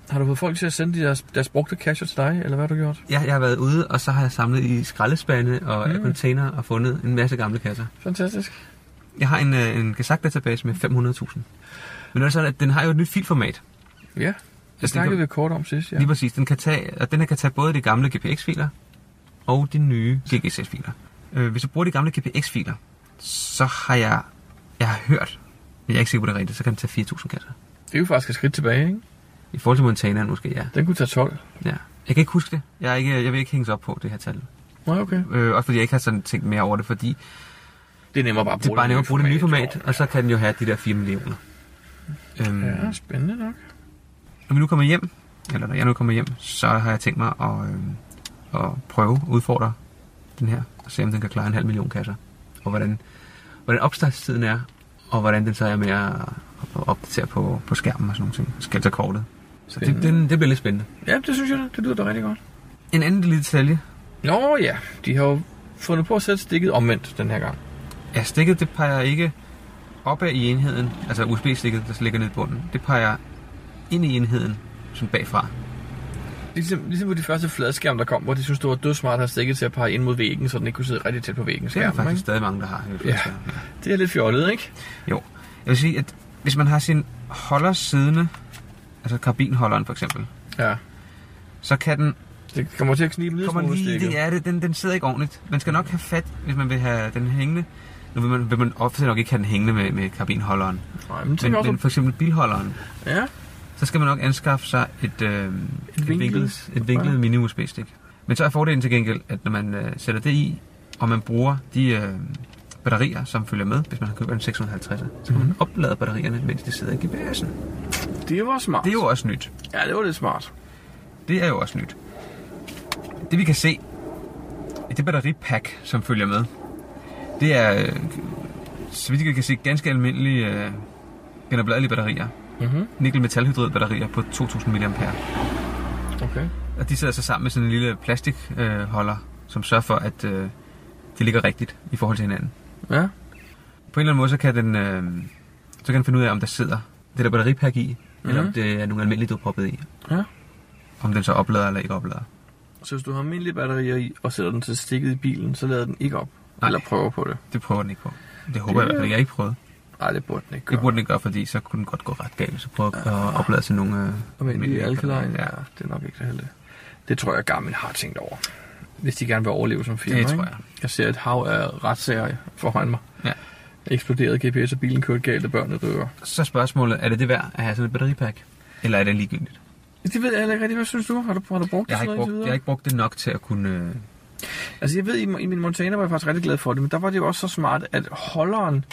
Har du fået folk til at sende de deres, deres brugte casher til dig, eller hvad har du gjort? Jeg, jeg har været ude, og så har jeg samlet i skraldespande og mm. container og fundet en masse gamle kasser. Fantastisk. Jeg har en, øh, en Gazak-database med 500.000. Men det er sådan, at den har jo et nyt filformat. Ja, det det snakkede kan- vi kort om sidst, ja. Ja. Lige præcis. Den kan tage, og den her kan tage både de gamle GPX-filer og de nye GGSS-filer. Øh, hvis du bruger de gamle GPX-filer, så har jeg, jeg har hørt, men jeg er ikke sikker på det er rigtigt, så kan den tage 4.000 kasser. Det er jo faktisk et skridt tilbage, ikke? I forhold til Montanaen måske, ja. Den kunne tage 12. ja. Jeg kan ikke huske det. Jeg, er ikke, jeg vil ikke hænges op på det her tal. Nå, okay. Øh, også fordi jeg ikke har sådan tænkt mere over det, fordi Det er nemmere bare at det er bare nemmere at bruge det nye format, tror og så kan den jo have de der 4 millioner. Øhm, jeg. Ja, spændende nok. Når vi nu kommer hjem, eller når jeg nu kommer hjem, så har jeg tænkt mig at, øh, at prøve at udfordre den her, og se om den kan klare en halv million kasser. Og hvordan, hvordan opstartstiden er, og hvordan den så er med at at opdatere på, på skærmen og sådan nogle ting. Skal tage kortet. Så det, Spændende. den, det bliver lidt spændende. Ja, det synes jeg, da. det lyder da rigtig godt. En anden lille detalje. Nå ja, de har jo fundet på at sætte stikket omvendt den her gang. Ja, stikket det peger ikke opad i enheden, altså USB-stikket, der ligger nede i bunden. Det peger ind i enheden, som bagfra. Ligesom, ligesom på de første fladskærm, der kom, hvor de synes, det var dødsmart at have stikket til at pege ind mod væggen, så den ikke kunne sidde rigtig tæt på væggen. Det er der Skærmen, faktisk ikke? stadig mange, der har. Ja. det er lidt fjollet, ikke? Jo. Jeg vil sige, at hvis man har sin holder siddende, altså karbinholderen for eksempel, Ja. så kan den... Det kommer til at knibe lidt Kommer smule lige, stikket. det er det, den, den sidder ikke ordentligt. Man skal nok have fat, hvis man vil have den hængende. Nu vil man, vil man ofte nok ikke have den hængende med, med karbinholderen. Nej, men tænk Men, også... men for eksempel bilholderen, Ja, så skal man nok anskaffe sig et, øh, et, vinkel. vinklet, et vinklet mini usb stik Men så er fordelen til gengæld, at når man øh, sætter det i, og man bruger de øh, batterier, som følger med, hvis man har købt en 650, så kan man oplade batterierne, mens de sidder i GPS'en. det var smart. Det er jo også nyt. Ja, det var lidt smart. Det er jo også nyt. Det vi kan se, i det batteripack, som følger med, det er, øh, så vidt jeg kan se, ganske almindelige øh, genopladelige batterier. Mhm, Nickel-metalhydrid batterier på 2000 mAh. okay. Og de sidder så sammen med sådan en lille plastikholder, øh, holder, som sørger for, at øh, det ligger rigtigt i forhold til hinanden. Ja, På en eller anden måde, så kan den, øh, så kan den finde ud af, om der sidder det der batteripack i, mm-hmm. eller om Mhm. det er nogle almindelige, du har proppet i. Ja. Om den så oplader eller ikke oplader. så hvis du har almindelige batterier i, og sætter den til stikket i bilen, så lader den ikke op. Nej. Nej. Eller prøver på det. Det prøver den ikke på. Det håber jeg i hvert fald ikke. Jeg har ikke prøvet. Nej, det burde den ikke Det gøre. burde den ikke gøre, fordi så kunne den godt gå ret galt, hvis jeg prøver at Ah. oplade til nogle... Øh, Almindelige alkaline, ja. Ja, det er nok ikke det heldige. Det tror jeg, Garmin har tænkt over. Hvis de gerne vil overleve som firma, det tror ikke? jeg. Jeg ser et hav af retssager foran mig. Ja. Eksploderede GPS, og bilen kørte galt, og børnene dør. Så er spørgsmålet, er det det værd at have sådan et batteripack? Eller er det ligegyldigt? Det ved jeg heller ikke rigtig. Hvad synes du? Har du, har du brugt det Jeg har, ikke sådan noget brugt, indtil jeg videre? har ikke brugt det nok til at kunne... Øh, Altså jeg ved, i, i min Montana var jeg faktisk rigtig glad for det, men der var det jo også så smart, at holderen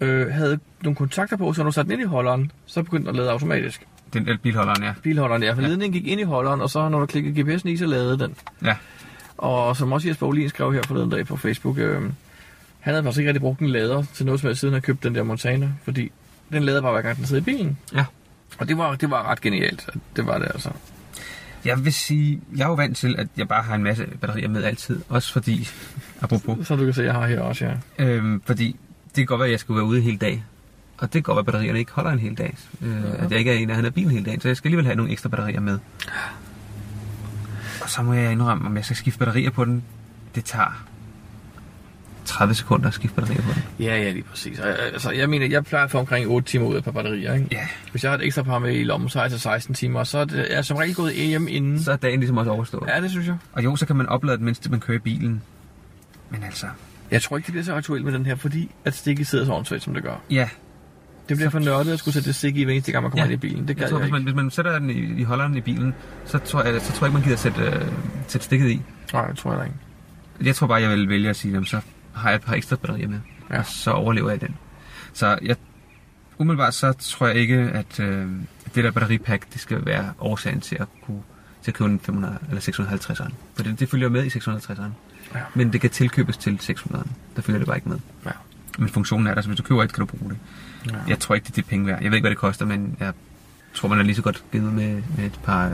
øh, havde nogle kontakter på, så når du satte den ind i holderen, så begyndte den at lade automatisk. den elbilholderen, ja. Bilholderen der, for ja. ledningen gik ind i holderen, og så når du klikkede GPS'en i, så lavede den. Ja, Og som også Jesper Olin skrev her forleden dag på Facebook, øh, han havde faktisk ikke rigtig brugt en lader til noget som helst, siden han købte den der Montana, fordi den lader bare hver gang, den sidder i bilen. ja. Og det var, det var ret genialt. Det var det altså. Jeg vil sige, jeg er jo vant til, at jeg bare har en masse batterier med altid. Også fordi, <laughs> apropos, Så du kan se, jeg har her også, ja. øhm, fordi det kan godt være, at jeg skulle være ude hele dag. Og det kan godt være, at batterierne ikke holder en hel dag. Øh, ja. At jeg ikke er en, der har bilen hele dagen. Så jeg skal alligevel have nogle ekstra batterier med. Og så må jeg indrømme, om jeg skal skifte batterier på den. Det tager 30 sekunder at skifte batterier på den. Ja, ja, lige præcis. Og, øh, Altså, jeg mener, jeg plejer at få omkring 8 timer ud af et par batterier, ikke? Ja. Hvis jeg har et ekstra par med i lommen, så er jeg til 16 timer, og så er det, jeg er som regel gået hjem inden. Så er dagen ligesom også overstået. Ja. Ja, det synes jeg. Og jo, så kan man oplade den, mens man kører i bilen. Men altså, Jeg tror ikke, det bliver så aktuelt med den her, fordi at stikket sidder så åndssvagt, som det gør. ja, Det bliver for nørdet at skulle sætte det stik i hver eneste gang, man kommer Ja. ind i bilen. Det gad Jeg jeg, tror, hvis ikke. man, hvis man sætter den i, i holderen i bilen, så tror jeg, så tror jeg ikke, man gider sætte, øh, sætte stikket i. Nej, det tror jeg da ikke. Jeg tror bare, jeg vil vælge at sige, jamen, så har jeg et par ekstra batterier med, Ja. ja. og så overlever jeg den. Så jeg, umiddelbart så tror jeg ikke, at, øh, at det der batteripack, det skal være årsagen til at kunne til at købe en 500 eller 650'eren. For det, det følger med i 650'eren. Ja. Men det kan tilkøbes til 600'eren. Der følger det bare ikke med. Ja. Men funktionen er der, så hvis du køber et, kan du bruge det. Ja. Jeg tror ikke, det er det penge værd. Jeg ved ikke, hvad det koster, men jeg tror, man er lige så godt givet med, med et par øh,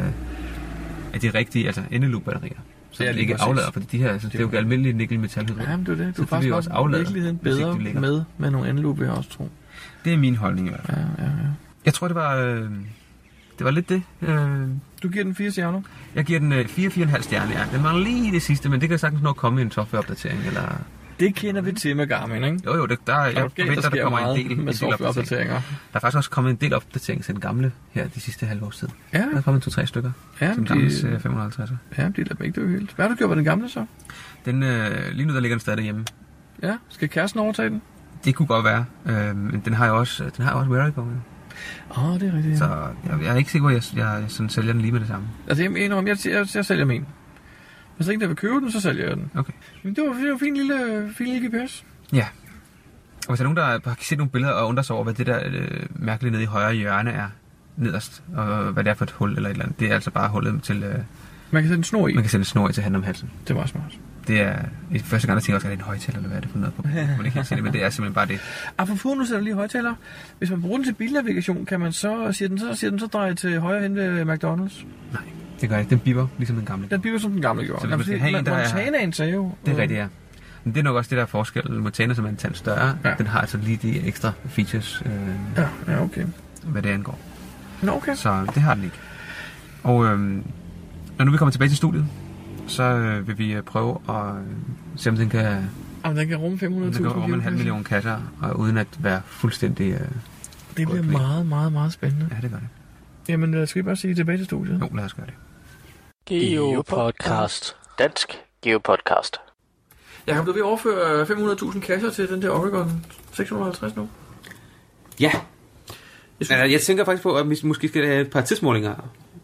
af de rigtige, altså endeloop-batterier. Så Ja, jeg lige ikke præcis. aflader, fordi de her, altså, det er jo ikke almindelige nikkel-metalhydrid. Jamen, det er det. Du Så er det vil faktisk jo også også aflade, virkeligheden hvis ikke bedre de ligger. med, med nogle anløb, vil jeg også tro. Det er min holdning i hvert fald. Ja, ja, ja. Jeg tror, det var, øh, det var lidt det. Øh, Du giver den fire stjerner? jeg giver den øh, 4-4,5 stjerner. Ja. Den mangler lige det sidste, men det kan sagtens nå at komme i en softwareopdatering. Eller... Det kender vi til med Garmin, ikke? Jo, jo, det, der, jeg forventer, der kommer en del, en med del opdatering. softwareopdateringer. Der er faktisk også kommet en del opdatering til den gamle her de sidste halve års tid. Ja, Der er kommet to-tre stykker ja, til men den de, gamle øh, 550'er. ja, de lader dem ikke dø helt. Hvad har du gjort med den gamle så? Den, øh, lige nu der ligger den stadig hjemme. Ja, skal kæresten overtage den? Det kunne godt være, øh, men den har jo også, den har jo også wearable. jo. Åh, oh, det er rigtigt. Så Så. jeg, jeg, er ikke sikker på, at jeg, jeg sådan sælger den lige med det samme. Altså, jeg mener, om jeg, jeg, jeg sælger min. Hvis der ikke der vil købe den, så sælger jeg den. Okay. Men det var, det var en fin lille, fin lille GPS. Ja. Og hvis der er nogen, der har set nogle billeder og undrer sig over, hvad det der øh, mærkelige nede i højre hjørne er nederst, og hvad det er for et hul eller et eller andet, det er altså bare hullet til, øh, Man kan sætte en snor i. man kan sætte en snor i til handen om halsen. Det var smart. Det er i første gang, der tænker jeg også, at det er en højtaler, eller hvad er det for noget på? <laughs> Man ikke helt se det, men det er simpelthen bare det. Apropos, nu sætter jeg lige højtaler. Hvis man bruger den til bilnavigation, kan man så, siger den så, siger den så dreje til højre hen ved McDonald's. Nej, det gør jeg ikke. Den biber, ligesom den gamle. Den bliver som den gamle gjorde. Så hvis man skal fordi have en, Mon- der er- Montanaen sagde jo. Det er rigtigt, ja. Men det er nok også det, der er forskellen. Montana, som er en tand større, Ja. ja. den har altså lige de ekstra features, øh, Ja, ja, okay. hvad det angår. Nå, okay. Så det har den ikke. Og øh, når nu vi kommer tilbage til studiet, så øh, vil vi øh, prøve at øh, se, om den kan Jamen, den kan rumme 500.000 Det går om en halv geocacher. million kasser, og uden at være fuldstændig... Øh, Det bliver Godt knæ. meget, meget, meget spændende. ja, det gør det. Jamen, lad os skal vi bare sige tilbage til studiet. Jo, lad os gøre det. Geopodcast. Dansk Geopodcast. Jeg har blevet ved at overføre 500.000 kasser til den der Oregon 650 nu. Ja. Jeg synes- Altså, jeg tænker faktisk på, at vi måske skal have et par tidsmålinger.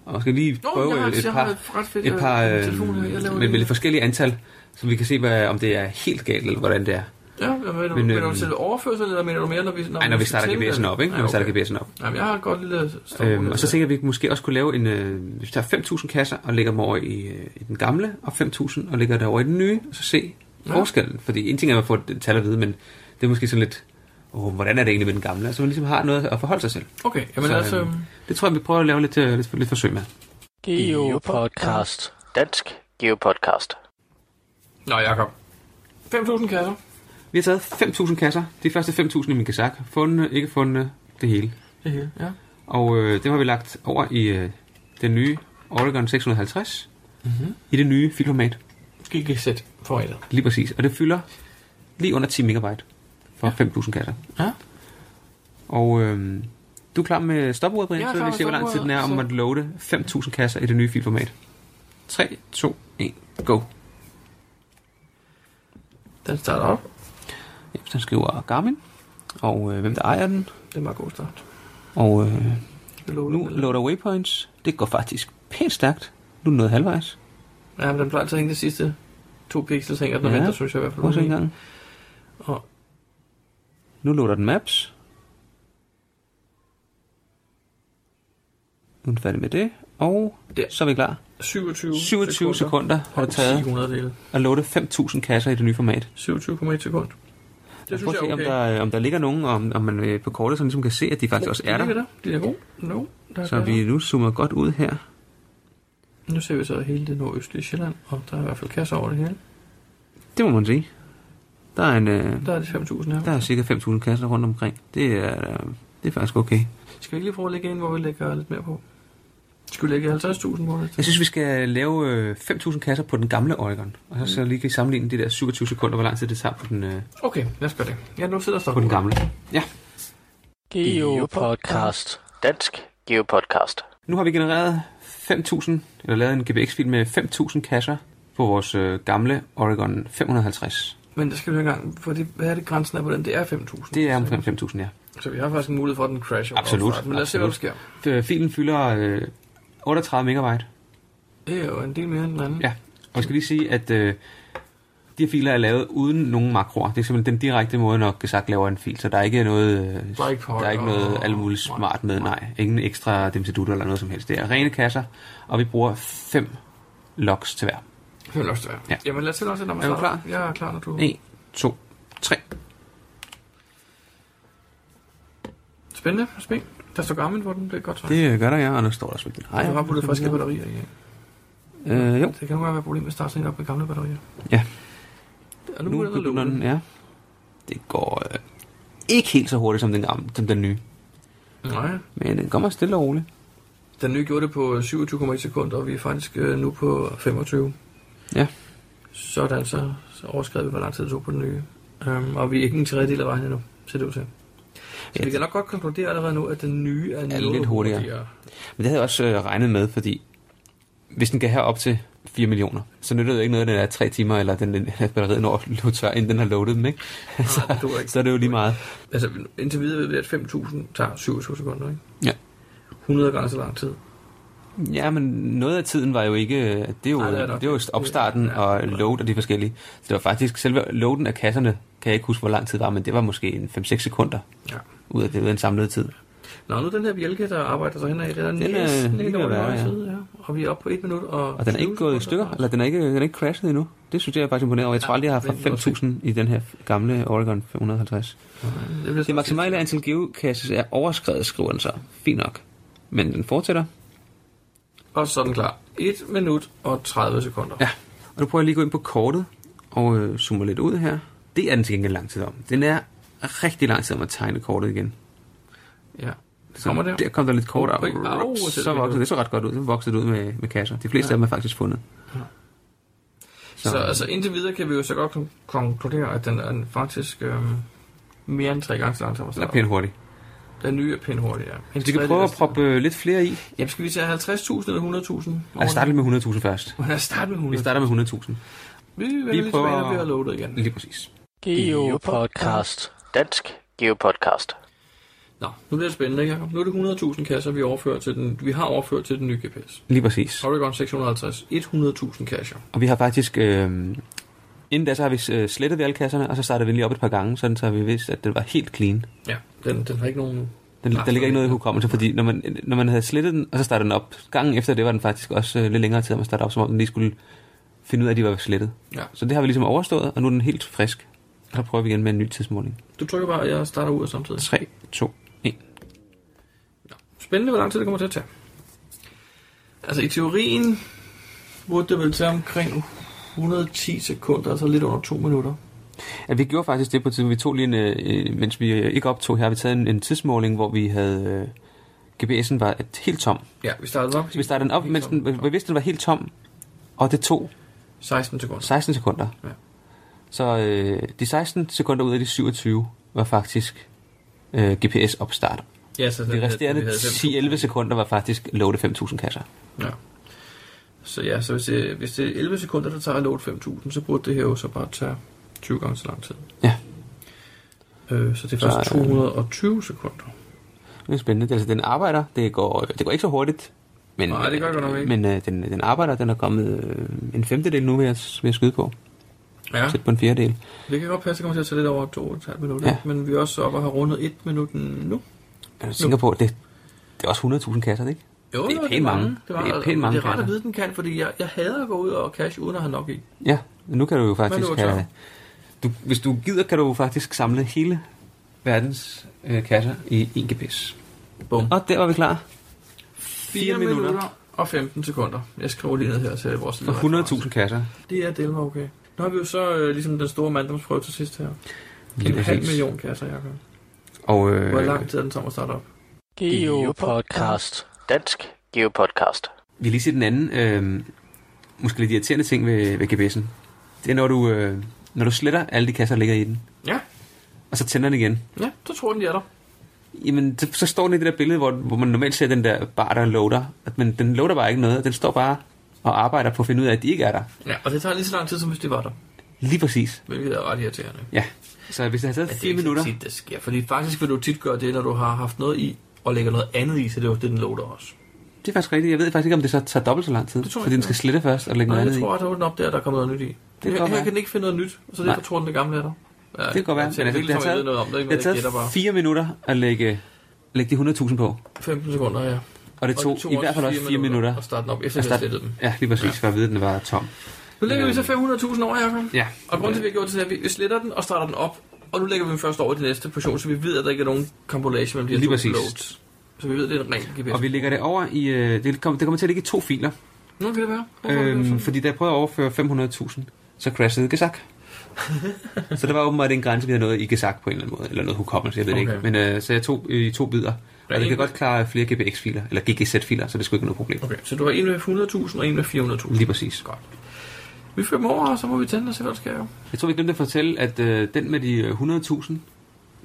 Og måske lige Nå, prøve jeg har, et, jeg par, har et ret fedt et par øh, øh, telefoner. Jeg laver med, med det. lidt forskellige antal, så vi kan se, hvad, om det er helt galt, eller hvordan det er. Ja, men, men, Men, men, men, øhm, til overførsel, eller mener du mere, når vi... Ej, når vi skal starter tælle GPS'en den? op, ikke? Når Ja, vi starter okay. GPS'en op. Jamen, jeg har et godt lille stort Øhm, og så tænker jeg, at vi måske også kunne lave en... Øh, hvis vi tager 5.000 kasser og lægger dem over i, øh, i den gamle, og 5.000 og lægger det over i den nye, og så se Ja. forskellen. Fordi en ting er, at man får et tal at vide, men det er måske sådan lidt... Åh, hvordan er det egentlig med den gamle? Og så man ligesom har noget at forholde sig til. Okay, jamen så, altså... øhm, Det tror jeg, vi prøver at lave lidt, øh, lidt, lidt forsøg med. Geopodcast. Dansk Geopodcast. Nå, Jacob. 5.000 kasser. Vi har taget 5.000 kasser. De første 5.000 i min kasak. Fundne, ikke fundne, det hele. Det hele, ja. Og øh, det har vi lagt over i øh, den nye Oregon 650. Mm-hmm. I det nye filformat. GGZ formatet. Lige præcis. Og det fylder lige under 10 megabyte for ja. 5.000 kasser. Ja. Og øh, du er klar med stopordet, Brian? Jeg er så vil klar vi med se, hvor lang tid den er om stopordet, at loade 5.000 kasser i det nye filformat. 3, 2, 1, go. Den starter op. Jamen, den skriver Garmin, og øh, hvem der ejer den. Det er en meget god start. Og øh, Det lå nu loader waypoints. Det går faktisk pænt stærkt. Nu er den nået halvvejs. Ja, men den plejer altid at hænge de sidste to pixels, hænger den og Ja. venter, synes jeg i hvert fald. Prøv at se en gang. Og Nu loader den maps. Nu er den færdig med det. Og Ja. så er vi klar. 27, 27 sekunder har det Og 10 taget hundrededele. at loade 5.000 kasser i det nye format. 27,1 sekund. Det Prøv synes at jeg se, er om okay. der, øh, om der ligger nogen, og om, om man øh, på kortet så ligesom kan se, at de faktisk også er De ligger der. der. De er gode. No, der er Så vi nu zoomer godt ud her. Nu ser vi så hele det nordøstlige Sjælland, og der er i hvert fald kasser over det hele. Det må man sige. Der er, en, øh, Der er de 5.000 her. der er cirka 5.000 kasser rundt omkring. Det er, øh, det er faktisk okay. Skal vi ikke lige prøve at lægge en, hvor vi lægger lidt mere på? Skal vi lægge 50.000 på det? Jeg synes, vi skal lave øh, 5.000 kasser på den gamle Oregon. Og så, så lige kan vi sammenligne de der 27 sekunder, hvor lang tid det tager på den, øh, Okay, lad os gøre det. Ja, nu sidder på den stokken. gamle. Ja. Geopodcast. Dansk Geopodcast. Nu har vi genereret 5.000, eller lavet en GPX-fil med 5.000 kasser på vores øh, gamle Oregon 550. Men der skal vi jo engang, for det, hvad er det grænsen er på den? Det er 5.000. Det er Så- omkring 5.000, ja. Så vi har faktisk en mulighed for, at den crasher. Absolut, Men lad os se, hvad der sker. Øh, Filen fylder øh, 38 megabyte. Det er jo en del mere end den anden. Ja, og jeg skal lige sige, at øh, de her filer er lavet uden nogen makroer. Det er simpelthen den direkte måde, når Gesagt laver en fil, så der er ikke noget, øh, Der er ikke der er ikke noget alt muligt smart med, nej. Ingen ekstra demsedutter eller noget som helst. Det er rene kasser, og vi bruger fem logs til hver. Det vil også være. Ja. Jamen lad os se, når man Er du starter. Jeg er klar, når du... 1, 2, 3. Spændende at spille. Der står Garmin, hvor den bliver godt tøj. Det, Det øh, gør der, ja, og nu står der selvfølgelig. Ej, du har puttet friske batterier i. Øh, jo. Det kan nogle gange være et problem at starte sådan en op med gamle batterier. Ja. Og nu, nu begynder den at begynder lukke. den, ja. Det går øh, ikke helt så hurtigt som den, gamle, som den nye, Nej, men den kommer stille og roligt. den nye gjorde det på 27,1 sekunder, og vi er faktisk øh, nu på 25. Ja. Sådan, så, så overskred vi, hvor lang tid det tog på den nye. Um, og vi er ikke en tredjedel af vejen endnu, ser det ud til. Så Ja, vi kan nok godt konkludere allerede nu, at den nye er, noget lidt hurtigere. Men det havde jeg også øh, regnet med, fordi hvis den kan have op til 4 millioner, så nytter det ikke noget, at den er 3 timer, eller den, den at batteriet når <laughs> at løbe tør, inden den har loadet dem, ikke? <laughs> så, Ah, det duer ikke. så er det jo lige meget. Altså, indtil videre ved vi, at 5.000 tager 27 sekunder, ikke? Ja. 100 gange så lang tid. Ja, men noget af tiden var jo ikke... øh, Det er jo, Nej, det det er er det nok. det er jo opstarten Ja, ja, ja. og load og de forskellige. Så det var faktisk... Selve loaden af kasserne, kan jeg ikke huske, hvor lang tid det var, men det var måske en 5-6 sekunder Ja. ud af det, ud af den samlede tid. Nå, nu den her bjælke, der arbejder sig henad, den er er næsten lige helt ved over at den være, højre ja. side, ja. Og vi er oppe på 1 minut og... Og den er ikke 20 gået i sekunder. stykker, eller den er ikke, den er ikke crashet endnu. Det synes jeg er faktisk imponerende, og jeg tror aldrig, jeg har men haft 5.000 i den her gamle Oregon 550. Nej, Det, bliver Det maksimale antal geokasses er overskrevet, skriver den så. Fint nok. Men den fortsætter. Og så er den klar. 1 minut og 30 sekunder. Ja. Og nu prøver jeg lige at gå ind på kortet og øh, zoome lidt ud her. Det er den til gengæld lang tid om. Den er rigtig lang tid om at tegne kortet igen. ja. Det kommer der. Der kom der lidt kort af. Au, au, au, ser Så det voksede ud. det så ret godt ud. Så voksede det ud med, med kasser. De fleste ja. af dem er faktisk fundet. Så altså, indtil videre kan vi jo så godt kon- konkludere, at den er faktisk øhm, mere end tre gange så lang som os. den er pænt hurtig. Den nye er pænt hurtig, ja. En Så vi kan tredjedel prøve af at tiden. proppe øh, lidt flere i. Jamen, skal vi tage 50.000 eller 100.000? Lad os starte med 100.000 først. Lad os starte med Vi 100. starter med 100.000. Vi vender lidt prøver- tilbage, når vi har loadet igen. Lige præcis. Geopodcast. Dansk Geopodcast. Nå, nu bliver det spændende, ikke, Jacob? Nu er det 100.000 kasser, vi, overfører til den, vi har overført til den nye GPS. Lige præcis. Oregon 650. 100.000 kasser. Og vi har faktisk... Øh, inden da, så har vi øh, slettet ved alle kasserne, og så startede vi lige op et par gange, sådan så vi vidste, at den var helt clean. Ja, den, den har ikke nogen... Den, Nej, der ligger ikke noget i nej. hukommelse, fordi når man, når man havde slettet den, og så startede den op, gangen efter det var den faktisk også øh, lidt længere tid, at man startede op, som om den lige skulle finde ud af, at de var slettet. Ja. Så det har vi ligesom overstået, og nu er den helt frisk. Og så prøver vi igen med en ny tidsmåling. Du trykker bare, og jeg starter ud samtidig. 3, 2, 1. Spændende, hvor lang tid det kommer til at tage. Altså i teorien burde det vel tage omkring 110 sekunder, altså lidt under to minutter. Ja, vi gjorde faktisk det på tiden. Vi tog lige en, øh, mens vi øh, ikke optog her, vi taget en, en tidsmåling, hvor vi havde... Øh, GPS'en var et, helt tom. Ja, vi startede op. Så vi startede den op, mens den, vi vidste, den var helt tom, og det tog 16 sekunder. 16 sekunder. Ja. Ja. Så øh, de 16 sekunder ud af de 27 var faktisk øh, Altså, GPS-opstart. Ja, så De resterende 10-11 sekunder var faktisk loade 5.000 kasser. Ja. Så ja, så hvis det, hvis det er 11 sekunder, der tager at load 5.000, så burde det her jo så bare tage 20 gange så lang tid. Ja, Øh, så det er først Så, øh, 220 sekunder. det er spændende. Altså, den arbejder. Det går, det går ikke så hurtigt. Men, Nej, det gør det godt nok ikke. Men øh, den, den arbejder. Den er kommet øh, en femtedel nu, vil jeg, vil jeg skyde på. Ja, Tæt på en fjerdedel. det kan godt passe, det kommer til at tage lidt over 2,5 minutter. Ja. Men vi er også oppe og har rundet 1 minut nu. Jeg tænker på, det, det er også 100.000 kasser, ikke? Jo, Det er jo, pænt mange. Det, var, Det er pænt mange Det er rart kasser. at vide, den kan, fordi jeg, jeg hader at gå ud og cash uden at have nok i. Ja, nu kan du jo Men faktisk... det var tør. Have, du, hvis du gider, kan du jo faktisk samle hele verdens øh, kasser i en GPS. Bum. Og der var vi klar. 4 minutter. og 15 sekunder. Jeg skriver lige ned her til vores For 100.000 kasser. Det er delmer okay. Nu har vi jo så øh, ligesom den store manddomsprøve til sidst her. Lige En halv præcis. million kasser, Jacob. Og øh, Hvor lang tid er den som at starte op? Geopodcast. Dansk Geopodcast. vi har lige set den anden, øh, måske lidt irriterende ting ved, ved GPS'en. Det er, når du, øh, når du sletter alle de kasser, der ligger i den, Ja, og så tænder den igen. ja, så tror den, de er der. Jamen, så, så står den i det der billede, hvor, hvor man normalt ser den der bar, der loader. At- Men den loader bare ikke noget, og den står bare og arbejder på at finde ud af, at de ikke er der. Ja, og det tager lige så lang tid, som hvis de var der. Lige præcis. Hvilket er ret irriterende. Ja. Så hvis det har taget Men det er 4 ikke så minutter, Tit, det sker, fordi faktisk vil du tit gøre det, når du har haft noget i, og lægger noget andet i, så det er jo det, den loader også. Det er faktisk rigtigt. Jeg ved faktisk ikke, om det så tager dobbelt så lang tid. Det tror jeg fordi ikke, den skal slette først og lægge Nej, noget andet jeg tror, at der er den op der, der er kommet noget nyt i. Det kan her, godt her være. kan den ikke finde noget nyt, så derfor Nej. tror den, det gamle er der. Ja, i. Det kan godt være. Jeg, jeg, altså, jeg, jeg, det har ved noget om det, ikke? men det har jeg gætter bare. taget 4 minutter at lægge, lægge de 100.000 på. 15 sekunder, ja. Og det tog, i hvert fald også 4 minutter. at starte den op, efter at vi har starte- slettet dem. Ja, lige præcis, for at vide, at den var tom. Nu lægger vi så 500.000 over, Jacob. Ja. Og grunden til, at vi har gjort det, er, at vi vi sletter den og starter den op og nu lægger vi den først over i den næste portion, så vi ved, at der ikke er nogen compilation mellem de her Lige to præcis. loads. Så vi ved, at det er en ren GPS. Og vi lægger det over i... Øh, det, kommer, det kommer til at ligge i to filer. Nu kan det være. Hvorfor er det Øhm, sådan? fordi da jeg prøvede at overføre 500.000, så <laughs> crashede Gesak. så der var åbenbart en grænse, vi havde noget i Gesak på en eller anden måde, eller noget hukommelse, jeg ved det Okay. ikke. Men, øh, så jeg tog øh, i to bidder, og det en- kan godt klare flere GPX-filer, eller GGZ-filer, så det skulle ikke være noget problem. Okay, så du har en med 100.000 og en med 400.000. Lige præcis. Godt. Vi fører dem over, og så må vi tænde og se, hvad der sker. jo. Jeg tror, vi glemte at fortælle, at øh, den med de øh, 100.000,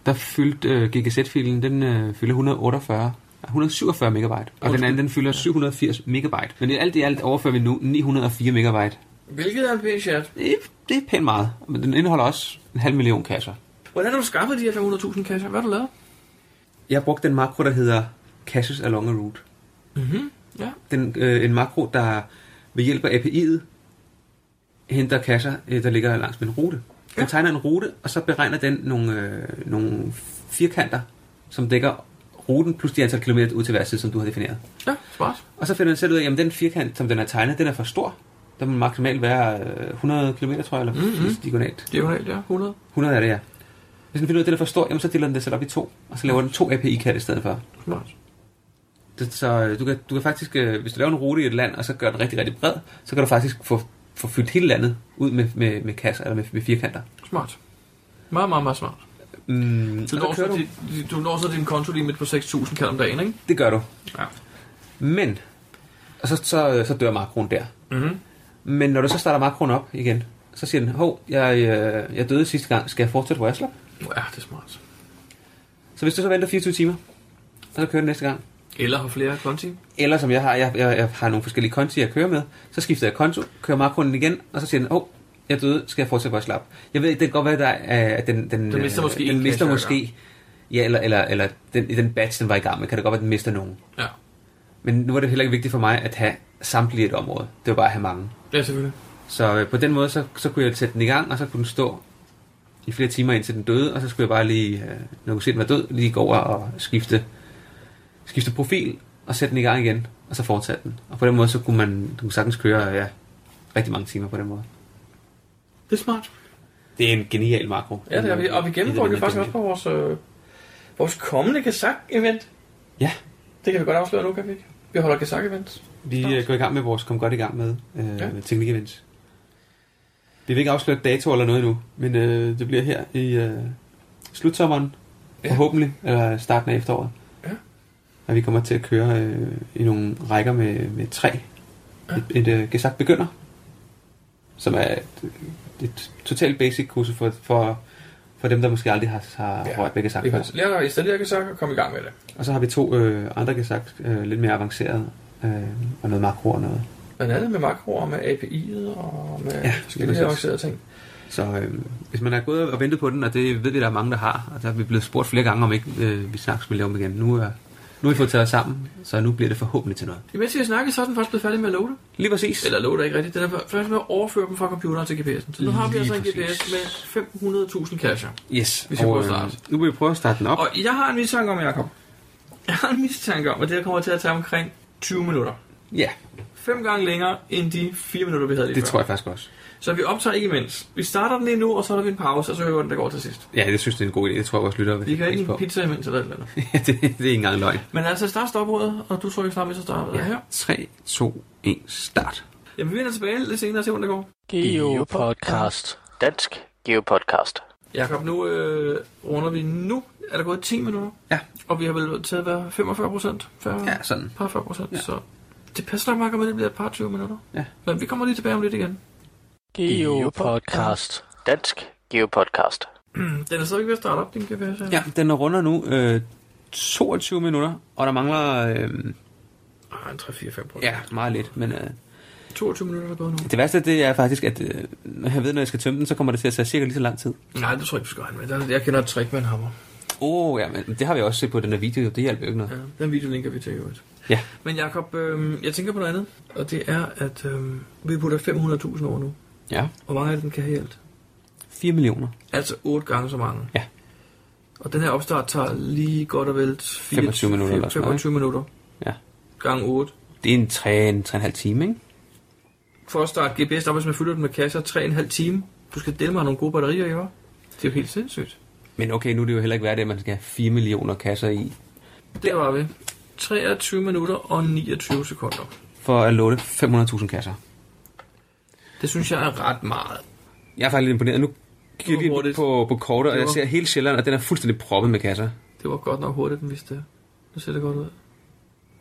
der fyldte øh, GGZ-filen, den øh, fylder 148 ah, 147 megabyte, og den anden den fylder 780 megabyte. Men i alt i alt overfører vi nu 904 megabyte. Hvilket er en pæn chat. Det er, det er pænt meget, men den indeholder også en halv million kasser. Hvordan har du skaffet de her 500.000 kasser? Hvad har du lavet? Jeg har brugt den makro, der hedder Caches Along a Route. Mhm. Ja. Den, øh, en makro, der ved hjælp af API'et henter kasser, øh, der ligger langs med en rute. Den Ja. tegner en rute, og så beregner den nogle, øh, nogle firkanter, som dækker ruten plus de antal kilometer ud til hver side, som du har defineret. Ja, smart. Og så finder den selv ud af, at den firkant, som den har tegnet, den er for stor. Der må maksimalt være øh, 100 km, tror jeg, eller mm-hmm. diagonalt. Diagonalt, ja. 100. 100 er det, ja. Hvis den finder ud af, at den er for stor, jamen, så deler den det selv op i to, og så laver den to API-kald i stedet for. Smart. Det, så øh, du kan, du kan faktisk, øh, hvis du laver en rute i et land, og så gør den rigtig, rigtig bred, så kan du faktisk få, få fyldt hele landet ud med, med, med kasser, eller med, med firkanter. Smart. Meget, meget, meget smart. Mm, Du og når, så så kører du. din, du når så din kontolimit på 6.000 kald om dagen, ikke? Det gør du. Ja. Men, og så, så, øh, så dør makroen der. Mhm. Men når du så starter makroen op igen, så siger den, hov, jeg, øh, jeg døde sidste gang, skal jeg fortsætte, hvor jeg slap? Ja, det er smart. Så hvis du så venter 24 timer, og så kører den næste gang, Eller har flere konti. eller som jeg har, jeg, jeg, jeg har nogle forskellige konti, jeg kører med, så skifter jeg konto, kører makroen igen, og så siger den, åh, oh, jeg er døde, skal jeg fortsætte, hvor jeg slap. Jeg ved, det kan godt være, der, er- at den, den, Den mister øh, måske en den mister cache hver måske ja, eller, eller, eller den, i den batch, den var i gang med, kan det godt være, den mister nogen. Ja. Men nu var det heller ikke vigtigt for mig at have samtlige et område. Det var bare at have mange. Ja, selvfølgelig. Så øh, på den måde, så, så kunne jeg sætte den i gang, og så kunne den stå i flere timer indtil den døde, og så skulle jeg bare lige, øh, når jeg kunne se, den var død, lige gå over og skifte, skifte profil, og sætte den i gang igen, og så fortsætte den. Og på den måde, så kunne man du kunne sagtens køre øh, ja, rigtig mange timer på den måde. Det er smart. Det er en genial makro. Ja, det er vi. Og vi gennemgår det faktisk også på vores, øh, vores kommende Gazak-event. Ja. Det kan vi godt afsløre nu, kan vi ikke? Vi holder Gazak-event. Vi øh, går i gang med vores, kom godt i gang med øh, Ja. ja. teknikevents. Vi vil ikke afsløre dato eller noget endnu, men øh, det bliver her i øh, slutsommeren, Ja. ja. forhåbentlig, eller starten af efteråret. Ja. Og vi kommer til at køre øh, i nogle rækker med, med tre. Ja. Ja. Et, et øh, gesagt begynder, som er et, et totalt basic kursus for, for, for dem, der måske aldrig har, har Ja. ja. rørt ved gesagt. Vi kan lære at installere Gazak og komme i gang med det. Og så har vi to øh, andre gesagt, øh, lidt mere avancerede, øh, og noget makro og noget. Blandt andet med makroer, med API'et og med ja, Ja, forskellige lige præcis. avancerede ting. Så øh, hvis man er gået og ventet på den, og det ved vi, der er mange, der har, og der er vi blevet spurgt flere gange, om ikke øh, vi snakkes med lave dem igen. Nu, er, nu har vi fået taget os sammen, så nu bliver det forhåbentlig til noget. Imens jeg snakkede, så er den først blevet færdig med at loade. Lige præcis. Eller loade er ikke rigtigt. Den er først med at overføre dem fra computeren til GPS'en. Så nu har vi Lige altså en præcis. GPS med 500.000 cacher. Yes. Vi skal prøve at øh, starte. Nu vil vi prøve at starte den op. Og jeg har en mistanke om, Jacob. Jeg har en mistanke om, at det her kommer til at tage omkring 20 minutter. Ja, Fem gange længere end de 4 minutter, vi havde lige det før. tror jeg faktisk også. Så vi optager ikke imens. Vi starter den lige nu, og så er der en pause, og så hører vi, hvordan det går til sidst. Ja, det synes det er en god idé. Det tror jeg vores lyttere vil Vi kan sætte ikke en pris pizza imens eller et eller andet. <laughs> Ja, det, det er ikke engang løgn. Men altså, start stopordet, og du trykker snart, hvis jeg starter ja. her. 3, 2, 1, start. Jamen, vi vender tilbage lidt senere og ser, hvordan det går. Geopodcast. Dansk Geopodcast. Jakob, nu øh, runder vi nu. Er der gået 10 minutter? Ja. Og vi har vel taget at være 45 procent? Ja, sådan. Par 40 procent, ja. så det passer nok meget godt med, at det bliver et par 20 minutter. Ja. Men vi kommer lige tilbage om lidt igen. <clears throat> Geopodcast. Dansk Geopodcast. Den er stadigvæk ved at starte op, din GPS. her. Ja, den runder nu øh, 22 minutter, og der mangler øh, Ah, en 3-4-5 procent. ja, meget lidt, men øh, 22 minutter er gået nu. Det værste, det er faktisk, at øh, når jeg ved, når jeg skal tømme den, så kommer det til at tage cirka lige så lang tid. Nej, det tror jeg ikke, vi skal have med. Der- Jeg kender et trick med en hammer. Åh, oh, ja, men det har vi også set på den her video, det hjælper jo ikke noget. Ja, den video linker vi til i øvrigt. Ja. Men Jakob, øh, jeg tænker på noget andet, og det er, at øh, vi putter 500.000 over nu. Ja. Hvor mange af dem kan have helt? 4 millioner. Altså 8 gange så mange. Ja. Og den her opstart tager lige godt og vel 4, 25 minutter eller sådan noget, 25 minutter. Ja. Gange 8. Det er en 3, en 3,5 time, ikke? For at starte GPS, der hvis man fylder den med kasser 3,5 time. Du skal dele mig nogle gode batterier, ikke? Det er jo helt sindssygt. Men okay, nu er det jo heller ikke værd, at man skal have 4 millioner kasser i, Der var vi. 23 minutter og 29 sekunder. for at låne 500.000 kasser. Det synes jeg er ret meget. Jeg er faktisk lidt imponeret. Nu kigger jeg Hvor lige hurtigt. på, på kortet, og jeg Hvor- ser hele Sjælland, og den er fuldstændig proppet med kasser. Det var godt nok hurtigt, den vidste det. Nu ser det godt ud.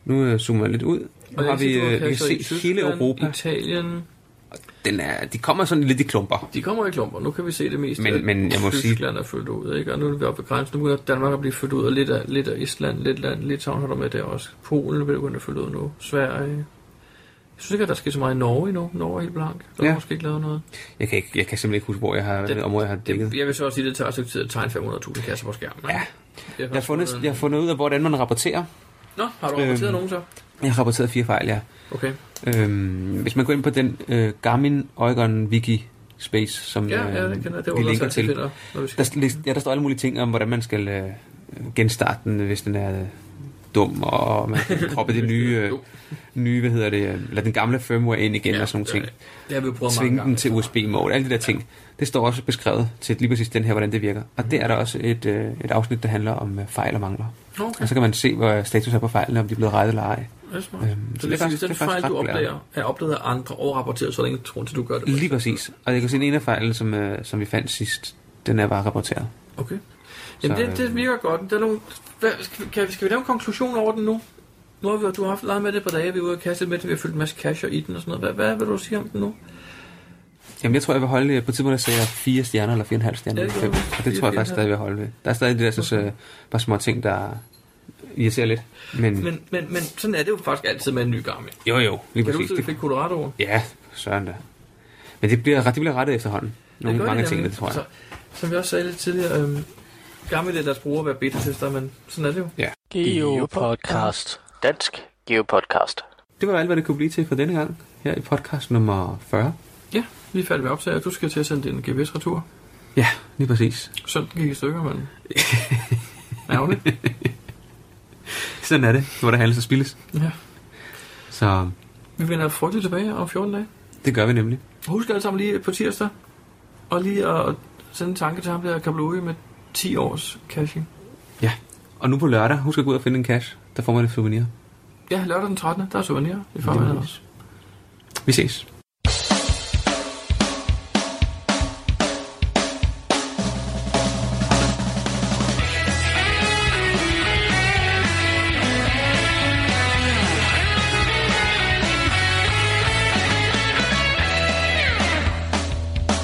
Nu øh, zoomer jeg lidt ud. Nu Og jeg har vi, se, du øh, vi kan kasser i se hele Tyskland, Europa. Italien. Den er, de kommer sådan lidt i klumper. De kommer i klumper. Nu kan vi se det meste. Men- af men jeg må sige- Tyskland er fyldt ud, ikke? Og nu er vi oppe ved grænsen. Nu begynder Danmark at blive fyldt ud, og lidt af, lidt af Island, lidt land, Litauen har der med der også. Polen bliver begyndt at fylde ud nu. Sverige. Jeg synes ikke, at der sker så meget i Norge endnu. Norge er helt blank. Der ja. Ja. har måske ikke lavet noget. Jeg kan, ikke, jeg kan simpelthen ikke huske, hvor jeg har, det, område, jeg har dækket. Jeg vil så også sige, at det tager et stykke tid at tegne 500.000 kasser på skærmen. Ja. Jeg Jeg har, fundet, jeg har fundet ud af, hvordan man rapporterer. Nå, har du rapporteret Øhm. nogen så? Jeg har rapporteret fire fejl, ja. Okay. Øhm, hvis man går ind på den øh, Garmin Oregon Wiki Space, som Ja, ja, øh, det kender jeg. Det vi var linker også, til. til. Finder, når vi skal. Der, st- ja, der står alle mulige ting om, hvordan man skal øh, genstarte den, hvis den er øh, dum, og man <laughs> kan proppe det nye, øh, nye, hvad hedder det, øh, eller den gamle firmware ind igen, ja, og sådan nogle ting. Det, det har vi jo prøvet mange Tvinge den gange. til USB-mode, alle de der ting. Det står også beskrevet til lige præcis den her, hvordan det virker. Og Mhm. der er der også et, øh, et afsnit, der handler om øh, fejl og mangler. Okay, Og så kan man se, hvor status er på fejlene, om de er blevet rettet eller ej. det er smart. Øhm, Så det, er faktisk, den det er faktisk fejl, du ret opdager, er opdaget af andre og rapporteret, så er der ingen grund til, at du gør det. Lige præcis. Og jeg kan se, at en af fejlene, som, øh, som vi fandt sidst, den er bare rapporteret. Okay. Jamen, Så, det, det øh, virker godt. Der er nogle, hvad, skal, vi- kan, skal vi lave en konklusion over den nu? Nu har vi, du har haft leget med det på dage, vi er ude og kaste med det, vi har fyldt en masse casher i den og sådan noget. Hvad, hvad vil du sige om den nu? Mm. Jamen, jeg tror, jeg vil holde øh, på et tidspunkt, der sagde jeg fire stjerner eller fire og en halv stjerner. Ja, eller det fem. gjorde du. Og det tror jeg Fire, faktisk stadig, jeg vil holde ved. Der er stadig det der, synes, øh, bare små ting, der irriterer lidt. Men, Men Men, men, men sådan er det jo faktisk altid med en ny Garmin. jo, jo, lige Kan du præcis. huske, at vi Det, fik Colorado? ja, søren da. Men det bliver, ret- det bliver rettet efterhånden. Nogle, gør mange de ting, nemlig. det tror jeg. Altså, som vi også sagde lidt tidligere, øhm, gamle lader deres brugere være beta-tester, men sådan er det jo. Geopodcast. Dansk Geopodcast. Det var alt, hvad det kunne blive til for denne gang. Her i podcast nummer 40. Ja, vi er færdige med optager. Du skal til at sende din GPS-retur. Ja, lige præcis. Sådan gik i stykker, men... Ærgerligt. Sådan er det, hvor der handles og spilles. <laughs> Ja. Så Vi vender frygteligt tilbage om 14 dage. det gør vi nemlig. Husk alle sammen lige på tirsdag, og lige at sende en tanke til ham der Kabloge med 10 års caching. Ja. Og nu på lørdag, husk at gå ud og finde en cash. Der får man et souvenir. Ja, lørdag den 13. Der er souvenir i formiddag også. Vi ses.